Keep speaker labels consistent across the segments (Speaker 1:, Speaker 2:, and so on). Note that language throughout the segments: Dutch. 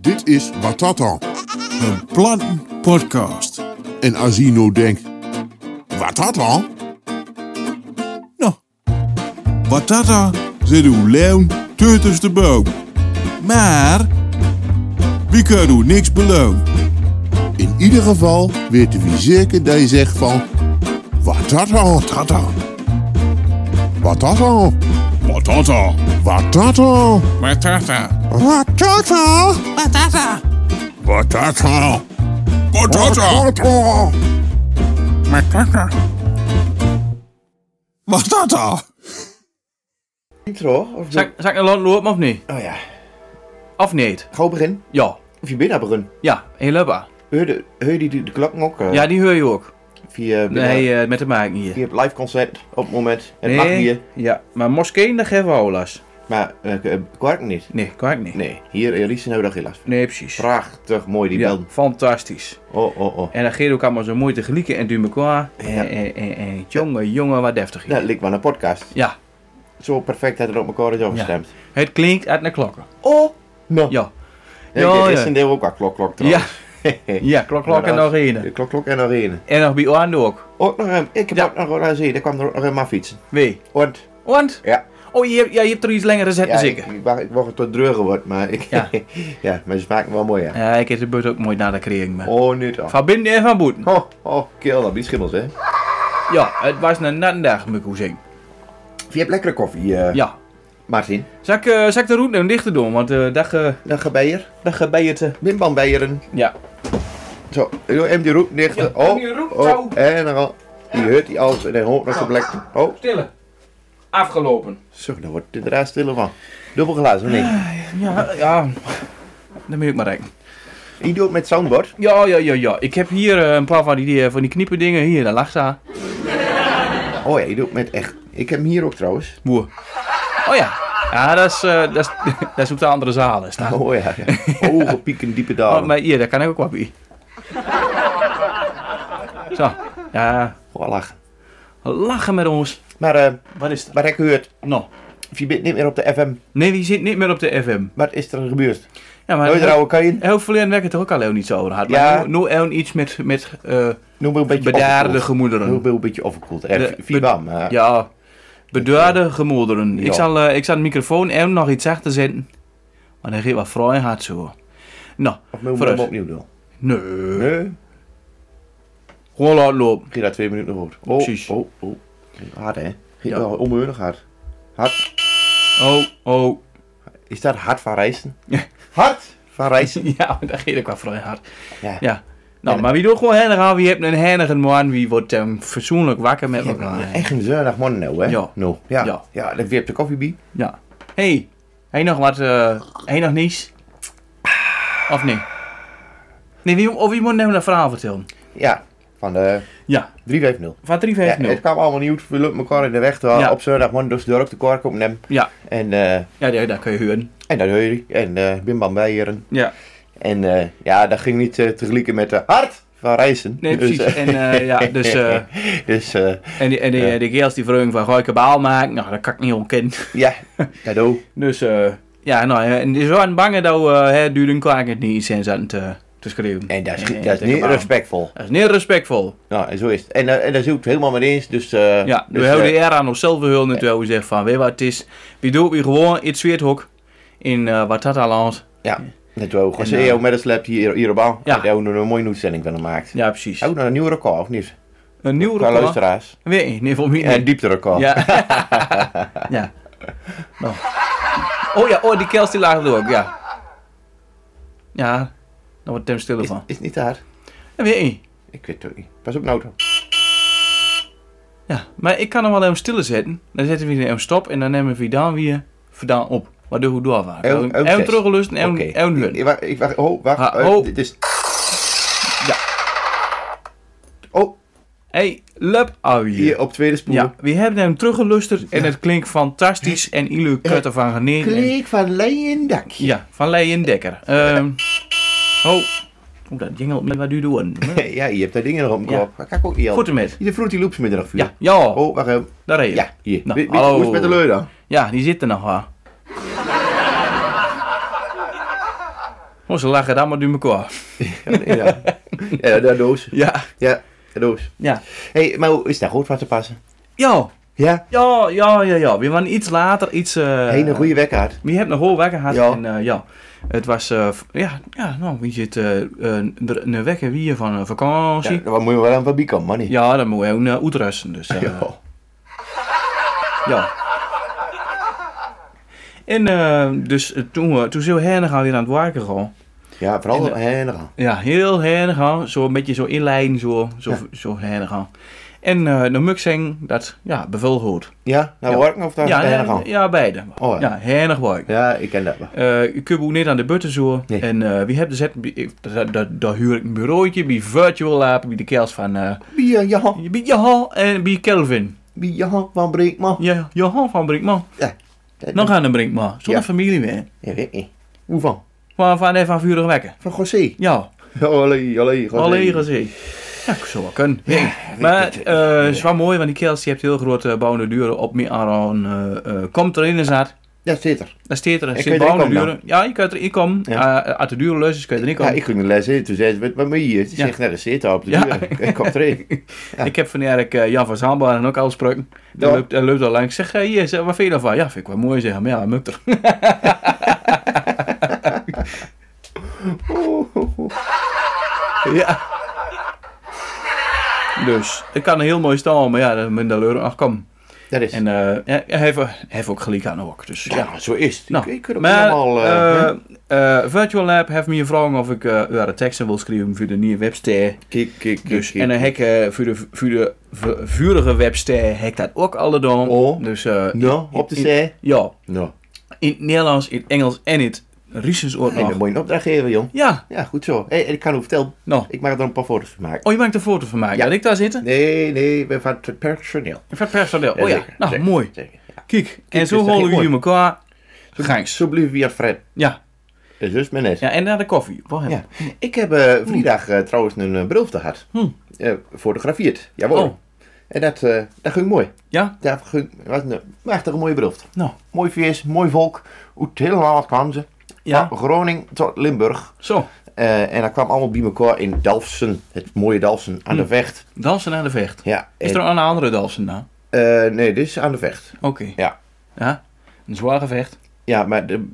Speaker 1: Dit is Watata.
Speaker 2: Een plantenpodcast.
Speaker 1: En Azino denkt, Watata?
Speaker 2: Nou, Batata zit uw leun tussen de boom. Maar, wie kan u niks beloon?
Speaker 1: In ieder geval weten we zeker dat je zegt van, Watata, tata. Watata,
Speaker 2: Batata.
Speaker 1: Watata,
Speaker 2: Batata.
Speaker 1: Watata,
Speaker 2: Batata.
Speaker 1: Watata,
Speaker 2: Batata.
Speaker 1: Watata.
Speaker 2: Batata. Batata.
Speaker 3: intro? Of
Speaker 4: Zal ik, zal ik naar land lopen of niet?
Speaker 3: Oh ja.
Speaker 4: Of niet?
Speaker 3: Gauw begin.
Speaker 4: Ja.
Speaker 3: Of je binnen begin.
Speaker 4: Ja, heel leuk.
Speaker 3: Hoor je de, die de, de klappen ook? eh,
Speaker 4: Ja, die hoor je ook.
Speaker 3: Via, binnen-
Speaker 4: Nee, eh, met de maken hier.
Speaker 3: via het live concert op het moment. Het mag
Speaker 4: Nee,
Speaker 3: hier.
Speaker 4: ja, maar moskeeën, daar geven we al last.
Speaker 3: Maar uh, kwark niet.
Speaker 4: Nee, kan ik niet.
Speaker 3: Nee, hier eh, in Riesen hebben we daar geen last van.
Speaker 4: Nee, precies.
Speaker 3: Prachtig mooi die
Speaker 4: Ja,
Speaker 3: bel.
Speaker 4: fantastisch.
Speaker 3: Oh, oh, oh.
Speaker 4: En dan geeft ook allemaal zo moeite gelieken en duwen elkaar.
Speaker 3: Ja.
Speaker 4: En, en, en, en jongen, jongen, wat deftig. hier.
Speaker 3: Dat lijkt wel een podcast.
Speaker 4: Ja,
Speaker 3: Zo perfect dat het op elkaar is afgestemd.
Speaker 4: het klinkt uit naar klokken.
Speaker 3: Oh! Nou.
Speaker 4: Ja.
Speaker 3: Ja,
Speaker 4: Ja,
Speaker 3: dit is
Speaker 4: ja.
Speaker 3: een deel ook wel klok, klok
Speaker 4: Ja,
Speaker 3: trouwens. Ja.
Speaker 4: ja klok, klok en nog één.
Speaker 3: Klok, klok en nog één.
Speaker 4: En nog bij Oan ook.
Speaker 3: Ook nog een, ik heb
Speaker 4: Ja.
Speaker 3: ook nog wel gezien, daar kwam er ook nog een maar fietsen.
Speaker 4: Wee.
Speaker 3: Want,
Speaker 4: Want?
Speaker 3: ja.
Speaker 4: Oh, je hebt, ja, je hebt er iets langer gezet,
Speaker 3: Ja,
Speaker 4: dan
Speaker 3: ik,
Speaker 4: zeker.
Speaker 3: ik, wacht- ik wacht tot dreur geworden, maar ik... Ja.
Speaker 4: Ja.
Speaker 3: maar ze maken wel mooi, ja.
Speaker 4: Ja, ik heb de beurt ook mooi naar de kreeg, maar.
Speaker 3: Oh, nu toch.
Speaker 4: Van binnen en van boeten.
Speaker 3: Oh, oh, kill dat, die schimmels, hè.
Speaker 4: Ja, het was een natte dag, moet ik hoe zeggen.
Speaker 3: Je hebt lekkere koffie, eh,
Speaker 4: Ja.
Speaker 3: Martin.
Speaker 4: Zal ik, eh, zal ik de route nou dichter doen? Want eh dag, eh
Speaker 3: Dan ga bijer.
Speaker 4: dag eh, bij het... eh,
Speaker 3: Wimban bijeren.
Speaker 4: ja.
Speaker 3: Zo, doe hem die roep dicht.
Speaker 4: Ja,
Speaker 3: oh,
Speaker 4: hem die roep,
Speaker 3: oh,
Speaker 4: zo.
Speaker 3: en dan al. Die hut die alles en dan hoort nog geblekt. Oh,
Speaker 4: Stille. Afgelopen.
Speaker 3: zo, daar wordt het raar stil van. Dubbel glazen, of
Speaker 4: Ah.
Speaker 3: niet?
Speaker 4: Ja, ja. Dan moet ik maar denken.
Speaker 3: Ik doe het met soundboard.
Speaker 4: Ja, ja, ja, ja. Ik heb hier eh, een paar van die, die, eh, van die kniepen dingen. Hier, daar lag ze aan.
Speaker 3: Oh ja, ik doe het met echt. Ik heb hem hier ook trouwens.
Speaker 4: Boer. Oh ja. Ja, dat is, eh, dat is, dat is op de andere zaal. Is dat.
Speaker 3: Oh ja, ja. Hoge pieken, diepe
Speaker 4: Oh,
Speaker 3: dalen.
Speaker 4: maar hier, daar kan ik ook wat bij. Zo. Ja.
Speaker 3: Oh, lach.
Speaker 4: Lachen met ons.
Speaker 3: Maar eh,
Speaker 4: Wat is dat?
Speaker 3: wat heb ik gehoord?
Speaker 4: Nou.
Speaker 3: Je bent niet meer op de FM.
Speaker 4: Nee, die zit niet meer op de FM.
Speaker 3: Wat is er gebeurd?
Speaker 4: Ja, maar...
Speaker 3: Nooit rouwen kan je.
Speaker 4: Heel veel jaren werken toch ook al heel niet zo over gehad.
Speaker 3: Ja.
Speaker 4: Maar nu, nu heel iets met, met eh
Speaker 3: Noem maar een beetje
Speaker 4: bedaarde
Speaker 3: overkoeld. Noem
Speaker 4: gemoederen.
Speaker 3: maar een beetje overkoeld.
Speaker 4: De-
Speaker 3: Eh, Vier
Speaker 4: be-
Speaker 3: bam. eh.
Speaker 4: Ja, bedaarde gemoederen.
Speaker 3: Ja.
Speaker 4: Ik, zal, eh, ik zal de microfoon even nog iets zachter zetten. Maar dan geeft wat vrij hard zo. Nou,
Speaker 3: Of moeten we
Speaker 4: Vooruit.
Speaker 3: hem opnieuw doen?
Speaker 4: nee.
Speaker 3: Nee.
Speaker 4: Gewoon laten lopen.
Speaker 3: Ging daar twee minuten nog over. Oh,
Speaker 4: Precies.
Speaker 3: Oh, oh. Hard hè? Ging
Speaker 4: Ja.
Speaker 3: wel onbeheurig hard. Hard.
Speaker 4: Oh, oh.
Speaker 3: Is dat hard van reizen?
Speaker 4: Ja.
Speaker 3: Hard van reizen?
Speaker 4: Ja, dan geeft ik wat vrij hard.
Speaker 3: Ja.
Speaker 4: Ja. Nou, maar wie doet gewoon hennig aan, wie hebt een hennige man, wie wordt eh, verzoenlijk wakker met elkaar. Ja.
Speaker 3: Echt een zeunig man nou hè?
Speaker 4: Ja.
Speaker 3: Nou. Ja. Ja.
Speaker 4: Ja.
Speaker 3: dat weer op de koffiebie.
Speaker 4: hey, heb je nog wat, eh heb je nog niets? Of nee? Nee, wie, of wie moet nou dat verhaal vertellen?
Speaker 3: Ja. Van de
Speaker 4: Ja,
Speaker 3: 350.
Speaker 4: van
Speaker 3: Ja,
Speaker 4: 350.
Speaker 3: het kwam allemaal nieuw. We lopen elkaar in de weg. Terwijl
Speaker 4: Ja.
Speaker 3: op zondagmorgen dus door op de kork op hem.
Speaker 4: Ja,
Speaker 3: En, eh
Speaker 4: ja, daar, daar kun je huren.
Speaker 3: en dat hoor je. En eh Bim Bam Beieren.
Speaker 4: Ja,
Speaker 3: En eh, ja, dat ging niet eh, tegelijk met de hard van reizen.
Speaker 4: nee, precies.
Speaker 3: Dus, eh,
Speaker 4: en eh, ja, dus, eh,
Speaker 3: dus eh,
Speaker 4: en die, en die, die kerels die vreugden van, ga ik een baal maken? Nou, dat kan ik niet ontkennen.
Speaker 3: ja, cadeau.
Speaker 4: Dus, eh, ja, nou, eh, en die is wel bang dat we, eh, hè, duurde een kwaak het niet iets in zaten te, te schreeuwen.
Speaker 3: En dat is,
Speaker 4: Nee,
Speaker 3: dat is
Speaker 4: tegen
Speaker 3: niet
Speaker 4: hem aan.
Speaker 3: respectvol.
Speaker 4: Dat is niet respectvol.
Speaker 3: Nou, en zo is het. En, eh, en daar zit het helemaal mee eens. Dus, eh,
Speaker 4: Ja,
Speaker 3: dus,
Speaker 4: we houden
Speaker 3: eh,
Speaker 4: er aan onszelf hulden terwijl we zeggen van, weet je wat het is? We doen weer gewoon iets zweethok in eh Watataland.
Speaker 3: ja, net wel. Gewoon
Speaker 4: En,
Speaker 3: CEO met een slap hier, hier op aan.
Speaker 4: Ja.
Speaker 3: En daar hebben we een mooie uitzending van gemaakt.
Speaker 4: Ja, precies.
Speaker 3: Ook nog nou een nieuw record, of niet?
Speaker 4: Een nieuw
Speaker 3: Qua
Speaker 4: record.
Speaker 3: luisteraars.
Speaker 4: Nee, nee, voor mij
Speaker 3: En een
Speaker 4: niet.
Speaker 3: diepte record.
Speaker 4: Ja. Oh. ja. Nou. Oh ja, oh, die kels die lagen er ook, ja. Ja, daar wordt Tim stil
Speaker 3: Is,
Speaker 4: van.
Speaker 3: is het niet hard?
Speaker 4: Dat weet ik niet.
Speaker 3: Ik weet het ook niet. Pas op nou dan.
Speaker 4: Ja, maar ik kan hem wel even stil zetten. Dan zetten we hem stop en dan nemen we dan weer vandaan op. Waardoor we doorwaart.
Speaker 3: Heel-
Speaker 4: Even
Speaker 3: heel
Speaker 4: even
Speaker 3: test.
Speaker 4: teruggelusten en
Speaker 3: Oh, Oké.
Speaker 4: even
Speaker 3: Ik-
Speaker 4: hun.
Speaker 3: Ik wacht, ik wacht. Oh, wacht.
Speaker 4: Ha,
Speaker 3: eh,
Speaker 4: oh.
Speaker 3: Dit is...
Speaker 4: Ja.
Speaker 3: Oh,
Speaker 4: Hey, lup alweer.
Speaker 3: hier op tweede spoel.
Speaker 4: Ja, we hebben hem teruggelusterd en het klinkt fantastisch en Ilu Kutter van Geneen. en-
Speaker 3: Klik van Leijendakje.
Speaker 4: Ja, van Leijen Dekker. Ehm, oh, oh, dat jingelt me wat duurder worden.
Speaker 3: Ja, je hebt daar dingen nog op mijn kop. Kijk ook hier. al.
Speaker 4: Goed ermee.
Speaker 3: Je vroeg die loops middag voor.
Speaker 4: Ja, ja,
Speaker 3: Oh, wacht even.
Speaker 4: daar heen.
Speaker 3: Ja, hier.
Speaker 4: Nou,
Speaker 3: Wie- wie-
Speaker 4: hallo.
Speaker 3: Hoe is het met de leur dan?
Speaker 4: Ja, die zit er nog wel. Oh, ze lagen daar maar door elkaar.
Speaker 3: ja. ja, de doos.
Speaker 4: Ja.
Speaker 3: Ja, de doos.
Speaker 4: Ja.
Speaker 3: Hé, hey, maar hoe is daar goed wat te passen?
Speaker 4: Ja.
Speaker 3: Ja,
Speaker 4: Ja, ja, ja, ja. We waren iets later, iets... eh
Speaker 3: hele goede wekkaart.
Speaker 4: We hebben nog hoor wekker gehad.
Speaker 3: Ja.
Speaker 4: En eh, ja, het was... eh, v- ja, ja, nou, wie zit eh, eh, er een wekker wie van een vakantie.
Speaker 3: Ja,
Speaker 4: Ja,
Speaker 3: daar moet je wel aan van bieken, man. niet?
Speaker 4: dan moet je ook eh, uitrusten. Dus, eh, ja.
Speaker 3: Ja.
Speaker 4: En eh, dus eh, toen, eh, toen zijn we hernig al weer aan het werken gewoon.
Speaker 3: Ja, vooral
Speaker 4: eh,
Speaker 3: hen gaan.
Speaker 4: Ja, heel hernig al. Zo een beetje zo inlijn, zo, zo, zo hernig al. En eh dan moet ik zeggen dat, ja, bevel goed.
Speaker 3: Ja, naar
Speaker 4: Ja.
Speaker 3: werken Nou, of naar
Speaker 4: ja,
Speaker 3: hen
Speaker 4: ja,
Speaker 3: gaan?
Speaker 4: ja, beide.
Speaker 3: Oh, ja.
Speaker 4: ja, hernig werken.
Speaker 3: Ja, ik ken dat wel.
Speaker 4: eh ik heb ook niet aan de butten zo.
Speaker 3: Nee.
Speaker 4: En eh wie hebt dus het, ik- daar- daar- daar huur ik een bureautje bij Virtual Lab, bij de kerels van eh
Speaker 3: Bia, ja,
Speaker 4: bij Johan en bij Kelvin.
Speaker 3: bia, van Breekman.
Speaker 4: Ja, Johan van Brinkman.
Speaker 3: Ja. dat-
Speaker 4: Nog aan de Brinkman.
Speaker 3: Ja.
Speaker 4: Zonder familie meer.
Speaker 3: Ja, weet niet. Hoe van?
Speaker 4: Maar van even aan vurig wekken.
Speaker 3: Van José.
Speaker 4: Ja,
Speaker 3: Allee, allee, José.
Speaker 4: alleen gezien. Ja, ik zou wel kunnen. Nee.
Speaker 3: weet
Speaker 4: maar
Speaker 3: het,
Speaker 4: eh het is wel mooi, want die kerels die heeft heel grote bouwende duren op me aan. eh, eh, komt erin en zat.
Speaker 3: Ja, zit er.
Speaker 4: Daar staat er,
Speaker 3: kun
Speaker 4: zit
Speaker 3: je erin
Speaker 4: bouwende
Speaker 3: komen
Speaker 4: duren. Ja, je kunt erin komen.
Speaker 3: Ja.
Speaker 4: Eh, uit de dure leus, dus kun je erin
Speaker 3: Ja,
Speaker 4: komen.
Speaker 3: ik ging de les in. Toen zei ze, wat- wat moet je hier? Ze
Speaker 4: Ja.
Speaker 3: zegt, nou, er zit daar op de
Speaker 4: Ja.
Speaker 3: deur. Ik kom erin. Ja.
Speaker 4: Ik heb van Erik eh, Jan van Zaanbaren ook al gesproken. Hij
Speaker 3: Ja.
Speaker 4: loopt, hij loopt al lang. Ik zeg, eh, hier, zeg, wat vind je daarvan? Ja, vind ik wel mooi zeggen. Maar ja, hij mukt er. ja. Dus, ik kan een heel mooi staan, maar ja, dat moet de leur afkomen.
Speaker 3: Dat is.
Speaker 4: En eh, ja, hij, heeft, hij heeft ook gelijk aan ook. Dus, ja.
Speaker 3: ja, zo is het.
Speaker 4: Nou,
Speaker 3: ik kan ook
Speaker 4: maar,
Speaker 3: helemaal... eh, hè?
Speaker 4: eh, eh, Virtual Lab heeft me gevraagd of ik eh ja, de teksten wil schrijven voor de nieuwe website.
Speaker 3: Kijk, kijk, kijk.
Speaker 4: Dus,
Speaker 3: kijk.
Speaker 4: en een hek eh, voor de, voor de vu- vurige webster hek dat ook alle dan.
Speaker 3: Oh.
Speaker 4: Dus eh,
Speaker 3: Nou, op de
Speaker 4: in-
Speaker 3: zij.
Speaker 4: ja,
Speaker 3: Nou,
Speaker 4: in het Nederlands, in het Engels en in het Riesens oor
Speaker 3: hey,
Speaker 4: nog.
Speaker 3: dan moet je een opdracht geven, jong.
Speaker 4: Ja,
Speaker 3: Ja, goed zo. Hé, en ik kan u vertellen,
Speaker 4: nou.
Speaker 3: ik mag er een paar foto's van maken.
Speaker 4: Oh, je maakt een foto van mij.
Speaker 3: Ja.
Speaker 4: Dat ik daar zitten?
Speaker 3: Nee, nee, we van het personeel.
Speaker 4: Van personeel. Oh ja,
Speaker 3: zeker,
Speaker 4: nou
Speaker 3: zeker,
Speaker 4: mooi.
Speaker 3: zeker, ja.
Speaker 4: Kijk, en
Speaker 3: dus
Speaker 4: zo
Speaker 3: dat
Speaker 4: holen
Speaker 3: ging
Speaker 4: we hier elkaar. Grijs.
Speaker 3: Zo blijven we aan Fred.
Speaker 4: Ja.
Speaker 3: Dus dus mijn net.
Speaker 4: ja, en naar de koffie. Wat
Speaker 3: Ja.
Speaker 4: hebben
Speaker 3: Ik heb eh, vrijdag eh, trouwens een uh, te gehad.
Speaker 4: Hm.
Speaker 3: Eh, fotografeerd. Jawel.
Speaker 4: Oh.
Speaker 3: En dat, eh, dat ging mooi.
Speaker 4: we? Ja?
Speaker 3: Dat ging, was een prachtige mooie bruft.
Speaker 4: Nou,
Speaker 3: Mooi feest, mooi volk. Uit helemaal wat kwamen ze.
Speaker 4: Ja.
Speaker 3: Van Groningen tot Limburg.
Speaker 4: zo.
Speaker 3: Eh, en dat kwam allemaal bij elkaar in Dalfsen. Het mooie Dalfsen aan de Vecht.
Speaker 4: Dansen naar de vecht.
Speaker 3: Ja.
Speaker 4: Hm. Is
Speaker 3: en-
Speaker 4: er nog een andere dansen na?
Speaker 3: eh, nee, dit is aan de Vecht.
Speaker 4: Oké.
Speaker 3: Ja.
Speaker 4: Ja? Een zwaar gevecht.
Speaker 3: Ja, maar de,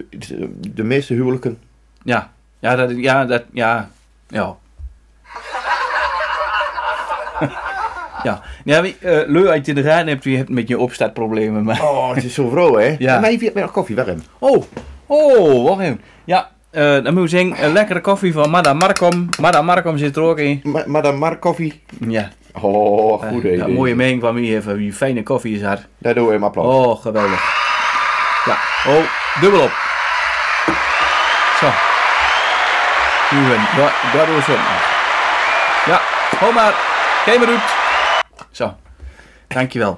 Speaker 3: de meeste huwelijken.
Speaker 4: Ja. Ja, dat, ja, dat, ja, ja. ja, ja wie, eh leuk als je de raad hebt, je hebt met je opstartproblemen. Maar...
Speaker 3: Oh, het is zo vroeg, hè?
Speaker 4: Ja.
Speaker 3: Maar even met koffie, waarom?
Speaker 4: Oh, oh, wacht even. Ja, eh dan moet ik zeggen, een lekkere koffie van Madame Markom. Madame Markom zit er ook in.
Speaker 3: Ma Madame Mark koffie.
Speaker 4: Ja,
Speaker 3: Oh,
Speaker 4: eh,
Speaker 3: goed
Speaker 4: ja,
Speaker 3: idee.
Speaker 4: mooie mening van wie even, wie fijne koffie is haar.
Speaker 3: Daar doen we hem applaus.
Speaker 4: Oh, geweldig. Ja, oh, dubbel op. Zo. Nu ben daar, daar doen we zo. Ja, kom maar. Kijk maar uit. Zo. Dankjewel.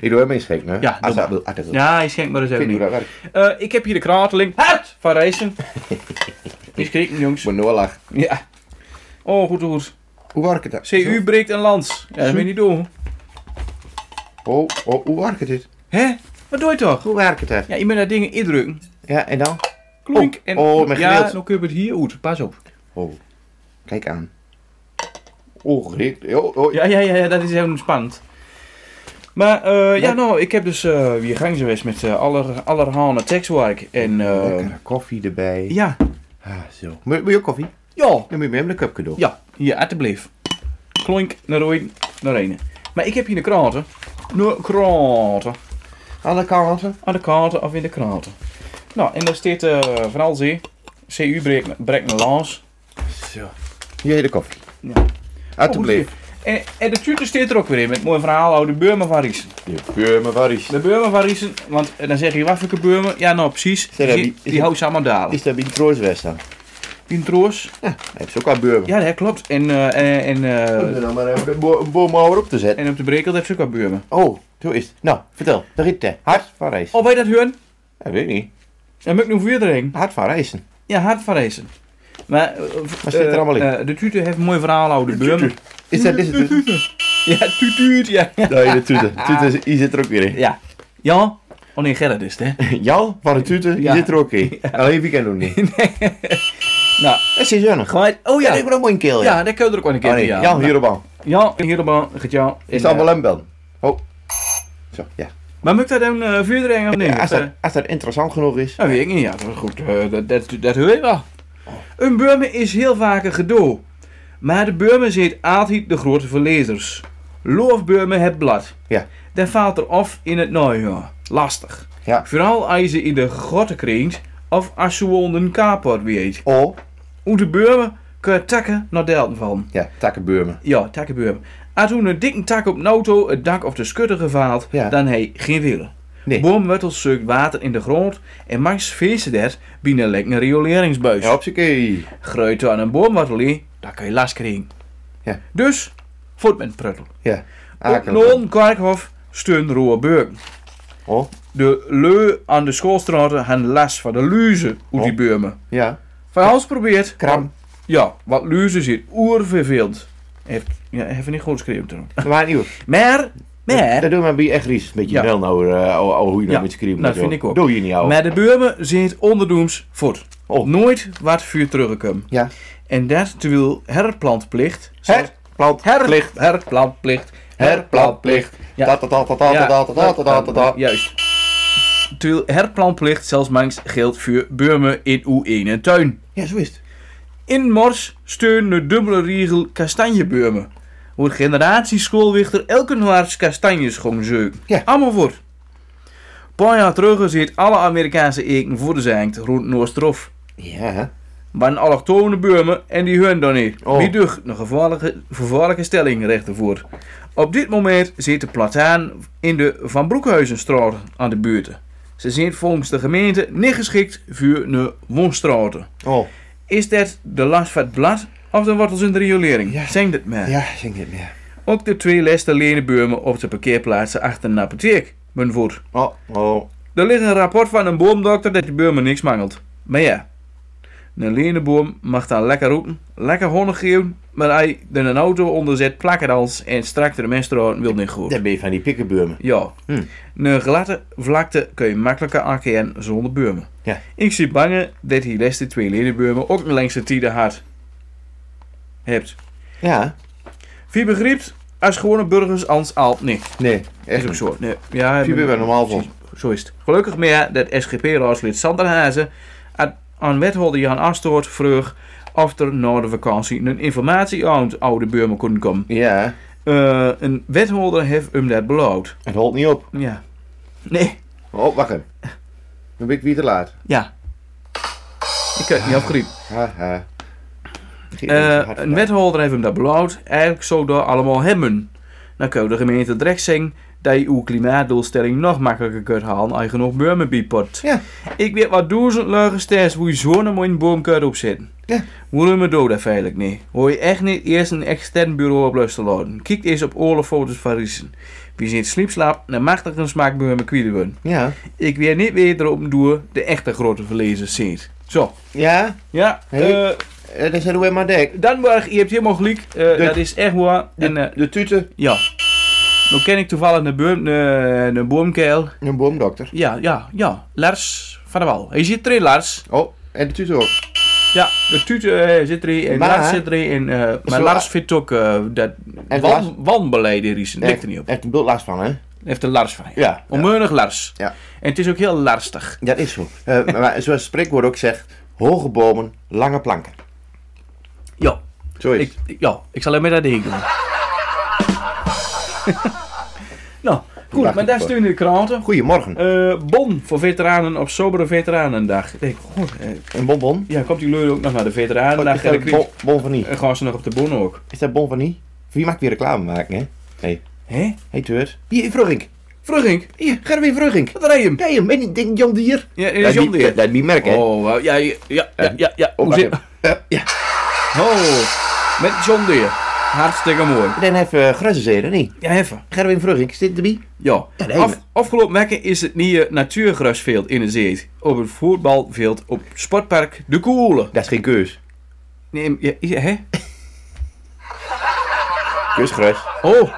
Speaker 3: Ik doe hem eens gek, hè?
Speaker 4: Ja,
Speaker 3: als
Speaker 4: doe
Speaker 3: dat wil. Als dat wil.
Speaker 4: Ja, je schenkt maar eens
Speaker 3: Ik
Speaker 4: even.
Speaker 3: weet niet
Speaker 4: in.
Speaker 3: hoe dat werkt.
Speaker 4: Eh, ik heb hier de krateling. Hart van Reizen. Is schrik
Speaker 3: Ik
Speaker 4: jongens.
Speaker 3: moet nou lachen.
Speaker 4: Ja. Oh, goed, goed.
Speaker 3: Hoe werkt het? dan?
Speaker 4: CU breekt een lans. Ja, dat moet je niet doen.
Speaker 3: Oh, oh, hoe werkt het? dit?
Speaker 4: Hè? Wat doe je toch?
Speaker 3: Hoe werkt het?
Speaker 4: Ja, je moet daar dingen indrukken.
Speaker 3: Ja, eh, en dan?
Speaker 4: Klonk.
Speaker 3: Oh,
Speaker 4: en,
Speaker 3: oh, mijn
Speaker 4: Ja,
Speaker 3: gedeelte.
Speaker 4: dan kun je het hier uit. Pas op.
Speaker 3: Oh, kijk aan. Oh, gereed. Oh, oh.
Speaker 4: Ja, ja, ja, ja, dat is heel spannend. Maar eh, ja, nou, ik heb dus eh weer gang geweest met eh, aller, allerhande tekstwerk. En eh
Speaker 3: Lekkere koffie erbij.
Speaker 4: ja,
Speaker 3: Ah, zo. Moet, moet je ook koffie?
Speaker 4: ja,
Speaker 3: Dan moet je me hem een cup cadeau.
Speaker 4: ja, hier, alsjeblieft. Klonk, naar rooi, naar een. Maar ik heb hier de kranten. Nou, kranten.
Speaker 3: Aan de kanten.
Speaker 4: Aan Ah, de kaarten of in de kranten. Nou, en daar staat eh van alles in. CU breekt breekt een lans.
Speaker 3: Zo. Hier hele koffie.
Speaker 4: Ja. Oh,
Speaker 3: Alsjeblieft.
Speaker 4: En, en de tutor staat er ook weer in met mooi verhaal over de Burma van Riesen.
Speaker 3: Je firma waar is.
Speaker 4: De Burma van Riesen, want eh, dan zeg je, wat voor een Burma? Ja, nou precies.
Speaker 3: dat
Speaker 4: Die,
Speaker 3: die- is
Speaker 4: die
Speaker 3: dat-
Speaker 4: houdt ze allemaal dalen.
Speaker 3: Is dat bij de Troostwest dan?
Speaker 4: Die troos.
Speaker 3: Hij is ook aan Burma.
Speaker 4: Ja, dat klopt. En, eh, en, en, eh,
Speaker 3: Om er nou maar even een bo- een boom over op te zetten.
Speaker 4: en op de brekel heeft ze ook wat buurman.
Speaker 3: Oh, zo is het. Nou, vertel. De rit Hart van Reis.
Speaker 4: Oh, weet je dat hun?
Speaker 3: Dat weet ik niet.
Speaker 4: Dan moet ik nog weer erheen.
Speaker 3: Hart van Reizen.
Speaker 4: Ja, hard van reizen. Maar eh,
Speaker 3: Wat zit er
Speaker 4: eh,
Speaker 3: allemaal in?
Speaker 4: eh, de tutor heeft een mooi verhaal over de buurman.
Speaker 3: Is dat is het? Ah.
Speaker 4: Ja, tutuut, ja.
Speaker 3: Nou, Nee, de Tute. Tute is- die zit er ook weer in.
Speaker 4: Ja. Ja, Oh nee, Gerrit is het, hè?
Speaker 3: Jou, van de tuten, die
Speaker 4: Ja.
Speaker 3: zit er ook in. Alleen weekend doen niet.
Speaker 4: Nou,
Speaker 3: Dat is nog.
Speaker 4: gewoon... Oh
Speaker 3: Ja,
Speaker 4: ja,
Speaker 3: ik ben ook mooi een keel.
Speaker 4: ja, dat kun je er ook wel een keer
Speaker 3: Oh nee,
Speaker 4: bij,
Speaker 3: Jan, hier op aan.
Speaker 4: Ja, helemaal, gaat jou.
Speaker 3: Is
Speaker 4: En,
Speaker 3: dat
Speaker 4: eh,
Speaker 3: wel een bel? Oh. Zo, ja.
Speaker 4: Maar moet ik dat dan eh verder brengen of niet?
Speaker 3: Ja, als,
Speaker 4: Dat,
Speaker 3: dat, als dat interessant genoeg is.
Speaker 4: dat weet ik niet, ja, maar goed, eh, dat, dat, dat hoor je wel. Een Burme is heel vaak een gedoe. Maar de Burme zit altijd de grote verlezers. Loof Burme het blad.
Speaker 3: Ja.
Speaker 4: Dat valt er af in het najaar. Lastig.
Speaker 3: Ja.
Speaker 4: Vooral als je ze in de grotten kringt of als ze wonden kapot weet.
Speaker 3: Oh.
Speaker 4: Hoe de Burme kun takken naar delten van.
Speaker 3: Ja, takkenbeurmen.
Speaker 4: Ja, takkenbeurm. Als toen een dikke tak op een auto het dak of de schutter gevaald,
Speaker 3: Ja.
Speaker 4: dan hij geen willen.
Speaker 3: Nee.
Speaker 4: Boomwortels zuigt water in de grond en Max vissen dat binnen een lekkere rioleringsbuis.
Speaker 3: Ja, hopsakee.
Speaker 4: Gruit aan een boomwortel in, dan kan je last krijgen.
Speaker 3: Ja.
Speaker 4: Dus, voort met pruttel.
Speaker 3: Ja.
Speaker 4: Op
Speaker 3: Akelig.
Speaker 4: Noon Kerkhof steun Roerbeuk.
Speaker 3: Oh.
Speaker 4: De leu aan de schoolstraten hebben last van de luzen uit die
Speaker 3: Oh.
Speaker 4: beurmen.
Speaker 3: Ja.
Speaker 4: Van alles probeert.
Speaker 3: Kram.
Speaker 4: Ja, wat luzen zit oerverveeld. Heeft, ja, even niet goed geschreven toen.
Speaker 3: Maar nieuw.
Speaker 4: Maar, maar,
Speaker 3: Dat doen we bij echt ries. Beetje
Speaker 4: Ja.
Speaker 3: snel nou, eh, ouwe- ouwe hoe je
Speaker 4: Ja,
Speaker 3: nou met schreeuwen
Speaker 4: dat
Speaker 3: moet,
Speaker 4: vind
Speaker 3: joh.
Speaker 4: ik ook.
Speaker 3: Doe je niet, ouwe.
Speaker 4: maar de Burmen zit onderdoems voort.
Speaker 3: Oh.
Speaker 4: Nooit wat vuur teruggekomen.
Speaker 3: Ja.
Speaker 4: En dat terwijl herplantplicht.
Speaker 3: Her. Plant. Plicht.
Speaker 4: herplantplicht.
Speaker 3: Herplantplicht.
Speaker 4: Ja.
Speaker 3: Dat, dat, dat, dat, dat, dat, dat, dat, dat, dat, dat.
Speaker 4: Juist. Terwijl herplantplicht zelfs mangs geldt voor Burmen in uw ene tuin.
Speaker 3: Ja, zo is het.
Speaker 4: In Mors steun de dubbele riegel kastanjebeurmen. Wordt generatie schoolwichter elke noars kastanjes gewoon zeuken.
Speaker 3: Ja.
Speaker 4: Allemaal voor. Een paar jaar terug zit alle Amerikaanse eken voor de zand rond Noordstrof.
Speaker 3: Ja, hè.
Speaker 4: Maar een allochtone beurmen en die hun dan niet.
Speaker 3: Oh.
Speaker 4: Wie ducht een gevaarlijke, gevaarlijke stelling rechtervoor. Op dit moment zit de plataan in de Van Broekhuizenstraat aan de buurten. Ze zijn volgens de gemeente niet geschikt voor een woonstraten.
Speaker 3: Oh.
Speaker 4: Is dat de last van het blad of de wortels in de riolering?
Speaker 3: Ja.
Speaker 4: Zeg dat maar.
Speaker 3: Ja, zing dit meer.
Speaker 4: Ook de twee lesten lenen bomen op de parkeerplaatsen achter een apotheek. Mijn voet.
Speaker 3: Oh. Oh.
Speaker 4: Er ligt een rapport van een boomdokter dat de bomen niks mangelt. Maar ja, een lenenboom mag dan lekker roepen, lekker honig geven, maar hij er een auto onder zet, plakken als en strak de menstruaten wil niet goed.
Speaker 3: Dan ben je van die pikkenbeurmen.
Speaker 4: Ja.
Speaker 3: Hm.
Speaker 4: Een gladde vlakte kun je makkelijker aankennen zonder beurmen.
Speaker 3: Ja.
Speaker 4: Ik zie bangen dat hij les de twee ledenbeurmen ook een lengste tiende had. Hebt.
Speaker 3: Ja.
Speaker 4: Wie begrijpt, als gewone burgers ans al niet.
Speaker 3: Nee. Echt
Speaker 4: Is ook zo. Nee. Ja,
Speaker 3: Wie ben je normaal voor?
Speaker 4: Zo is het. Gelukkig meer dat SGP-raadslid Sander Hazen aan- aan wethouder Jan Astoort vroeg of er na de vakantie een informatie aan de oude beurmen kon komen.
Speaker 3: Ja.
Speaker 4: Eh, een wethouder heeft hem dat beloofd.
Speaker 3: Het holt niet op.
Speaker 4: Ja. Nee.
Speaker 3: Oh, wacht even. Dan ben ik weer te laat.
Speaker 4: Ja. Ik kan het
Speaker 3: eh,
Speaker 4: niet afgrijpen.
Speaker 3: Haha. Geen
Speaker 4: Eh,
Speaker 3: hard
Speaker 4: een
Speaker 3: gedaan.
Speaker 4: wethouder heeft hem dat beloofd. Eigenlijk zou dat allemaal hebben. Dan kan de gemeente Drecht zeggen dat je uw klimaatdoelstelling nog makkelijker kunt halen als je genoeg bomen biedt.
Speaker 3: Ja.
Speaker 4: Ik weet wat duizend leugens test hoe je zo'n mooie boom kunt opzetten.
Speaker 3: Ja.
Speaker 4: Waarom we dood dat eigenlijk niet? Hoor je echt niet eerst een extern bureau op luisteren laten. Kijk eens op oorlogfoto's van Riesen. Wie zit sliepslaap, dan mag er een smaakbomen kwielen.
Speaker 3: Ja.
Speaker 4: Ik weet niet weer erop door de echte grote verlezers zit. Zo.
Speaker 3: Ja.
Speaker 4: Ja,
Speaker 3: Hey.
Speaker 4: eh,
Speaker 3: Eh, Dan zijn we maar dek.
Speaker 4: Danborg, je hebt helemaal gelijk. Eh, dat is echt waar. En eh,
Speaker 3: De tute.
Speaker 4: ja. Nou ken ik toevallig een, boom, een, een boomkeil.
Speaker 3: Een boomdokter.
Speaker 4: Ja, ja, ja. Lars van der Wal. Hij zit erin, Lars.
Speaker 3: Oh, en de tute ook.
Speaker 4: Ja, de tuut eh, zit erin en
Speaker 3: Maar-
Speaker 4: Lars zit erin. En, eh, maar
Speaker 3: Zo-
Speaker 4: Lars vindt ook eh, dat
Speaker 3: En Lars-
Speaker 4: wan, wanbeleid er is. Ligt er niet op.
Speaker 3: Echt een bult last van, hè?
Speaker 4: Heeft er Lars van.
Speaker 3: Ja.
Speaker 4: Onmeunig Lars.
Speaker 3: Ja.
Speaker 4: En het is ook heel lastig.
Speaker 3: Dat is zo. Eh, maar zoals het spreekwoord ook zegt, hoge bomen, lange planken.
Speaker 4: Ja.
Speaker 3: Zo is
Speaker 4: Ik,
Speaker 3: het.
Speaker 4: ja, ik zal hem met dat ding doen. nou, goed, maar daar sturen de kranten.
Speaker 3: Goedemorgen.
Speaker 4: Eh, bon voor veteranen op Sobere Veteranendag. Ik denk, goh, eh,
Speaker 3: een bonbon.
Speaker 4: ja, komt die leur ook nog naar de Veteranendag?
Speaker 3: Is
Speaker 4: En
Speaker 3: dat
Speaker 4: dan
Speaker 3: een bon,
Speaker 4: krijg-
Speaker 3: bon van niet?
Speaker 4: en gaan ze nog op de bon ook.
Speaker 3: Is dat bon van niet? Wie maakt weer reclame maken, hè? Hé,
Speaker 4: Hé?
Speaker 3: hey, Teurs. Hier, Vrugink.
Speaker 4: Vroeg ik,
Speaker 3: Hier, ga er weer Vrugink.
Speaker 4: wat rij je hem?
Speaker 3: Nee, hem, en die Jan Dier.
Speaker 4: Ja, Eh, is John Deere.
Speaker 3: Dat is die merk, hè?
Speaker 4: Oh, wauw. ja, ja, ja, ja, ja, ja.
Speaker 3: Oh,
Speaker 4: Hoe
Speaker 3: wacht
Speaker 4: zit...
Speaker 3: even. Eh, ja.
Speaker 4: Oh, met John Deere. Hartstikke mooi.
Speaker 3: Dan even uh, grazenzeren, nee.
Speaker 4: Ja, even.
Speaker 3: Gerwin Vrugink, zit erbij?
Speaker 4: Ja.
Speaker 3: dat
Speaker 4: Af-
Speaker 3: even.
Speaker 4: afgelopen weken is het nieuwe natuurgrasveld in de zee. Op het voetbalveld op Sportpark De Koele.
Speaker 3: Dat is geen keus.
Speaker 4: Nee, ja, ja, hè?
Speaker 3: Keusgras.
Speaker 4: Oh,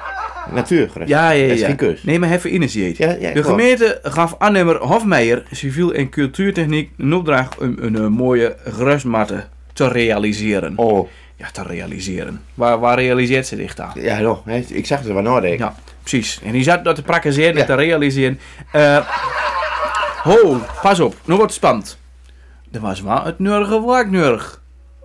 Speaker 3: Natuurgras.
Speaker 4: Ja, ja, ja.
Speaker 3: Dat is geen keus.
Speaker 4: Nee, maar hij geïnitieerd.
Speaker 3: Ja, ja,
Speaker 4: de
Speaker 3: klopt.
Speaker 4: gemeente gaf Annemer Hofmeijer civiel en cultuurtechniek een opdracht om een, eh, mooie grasmatte te realiseren.
Speaker 3: Oh,
Speaker 4: Ja, te realiseren. Waar, waar realiseert ze zich aan?
Speaker 3: ja, joh. hè, Ik zag het er wel nadenken.
Speaker 4: Ja, precies. En die zat dat te praktiseren en
Speaker 3: Ja.
Speaker 4: te realiseren. Eh, ho, pas op. Nu wordt het spannend. Er was wel het nurige werknurg.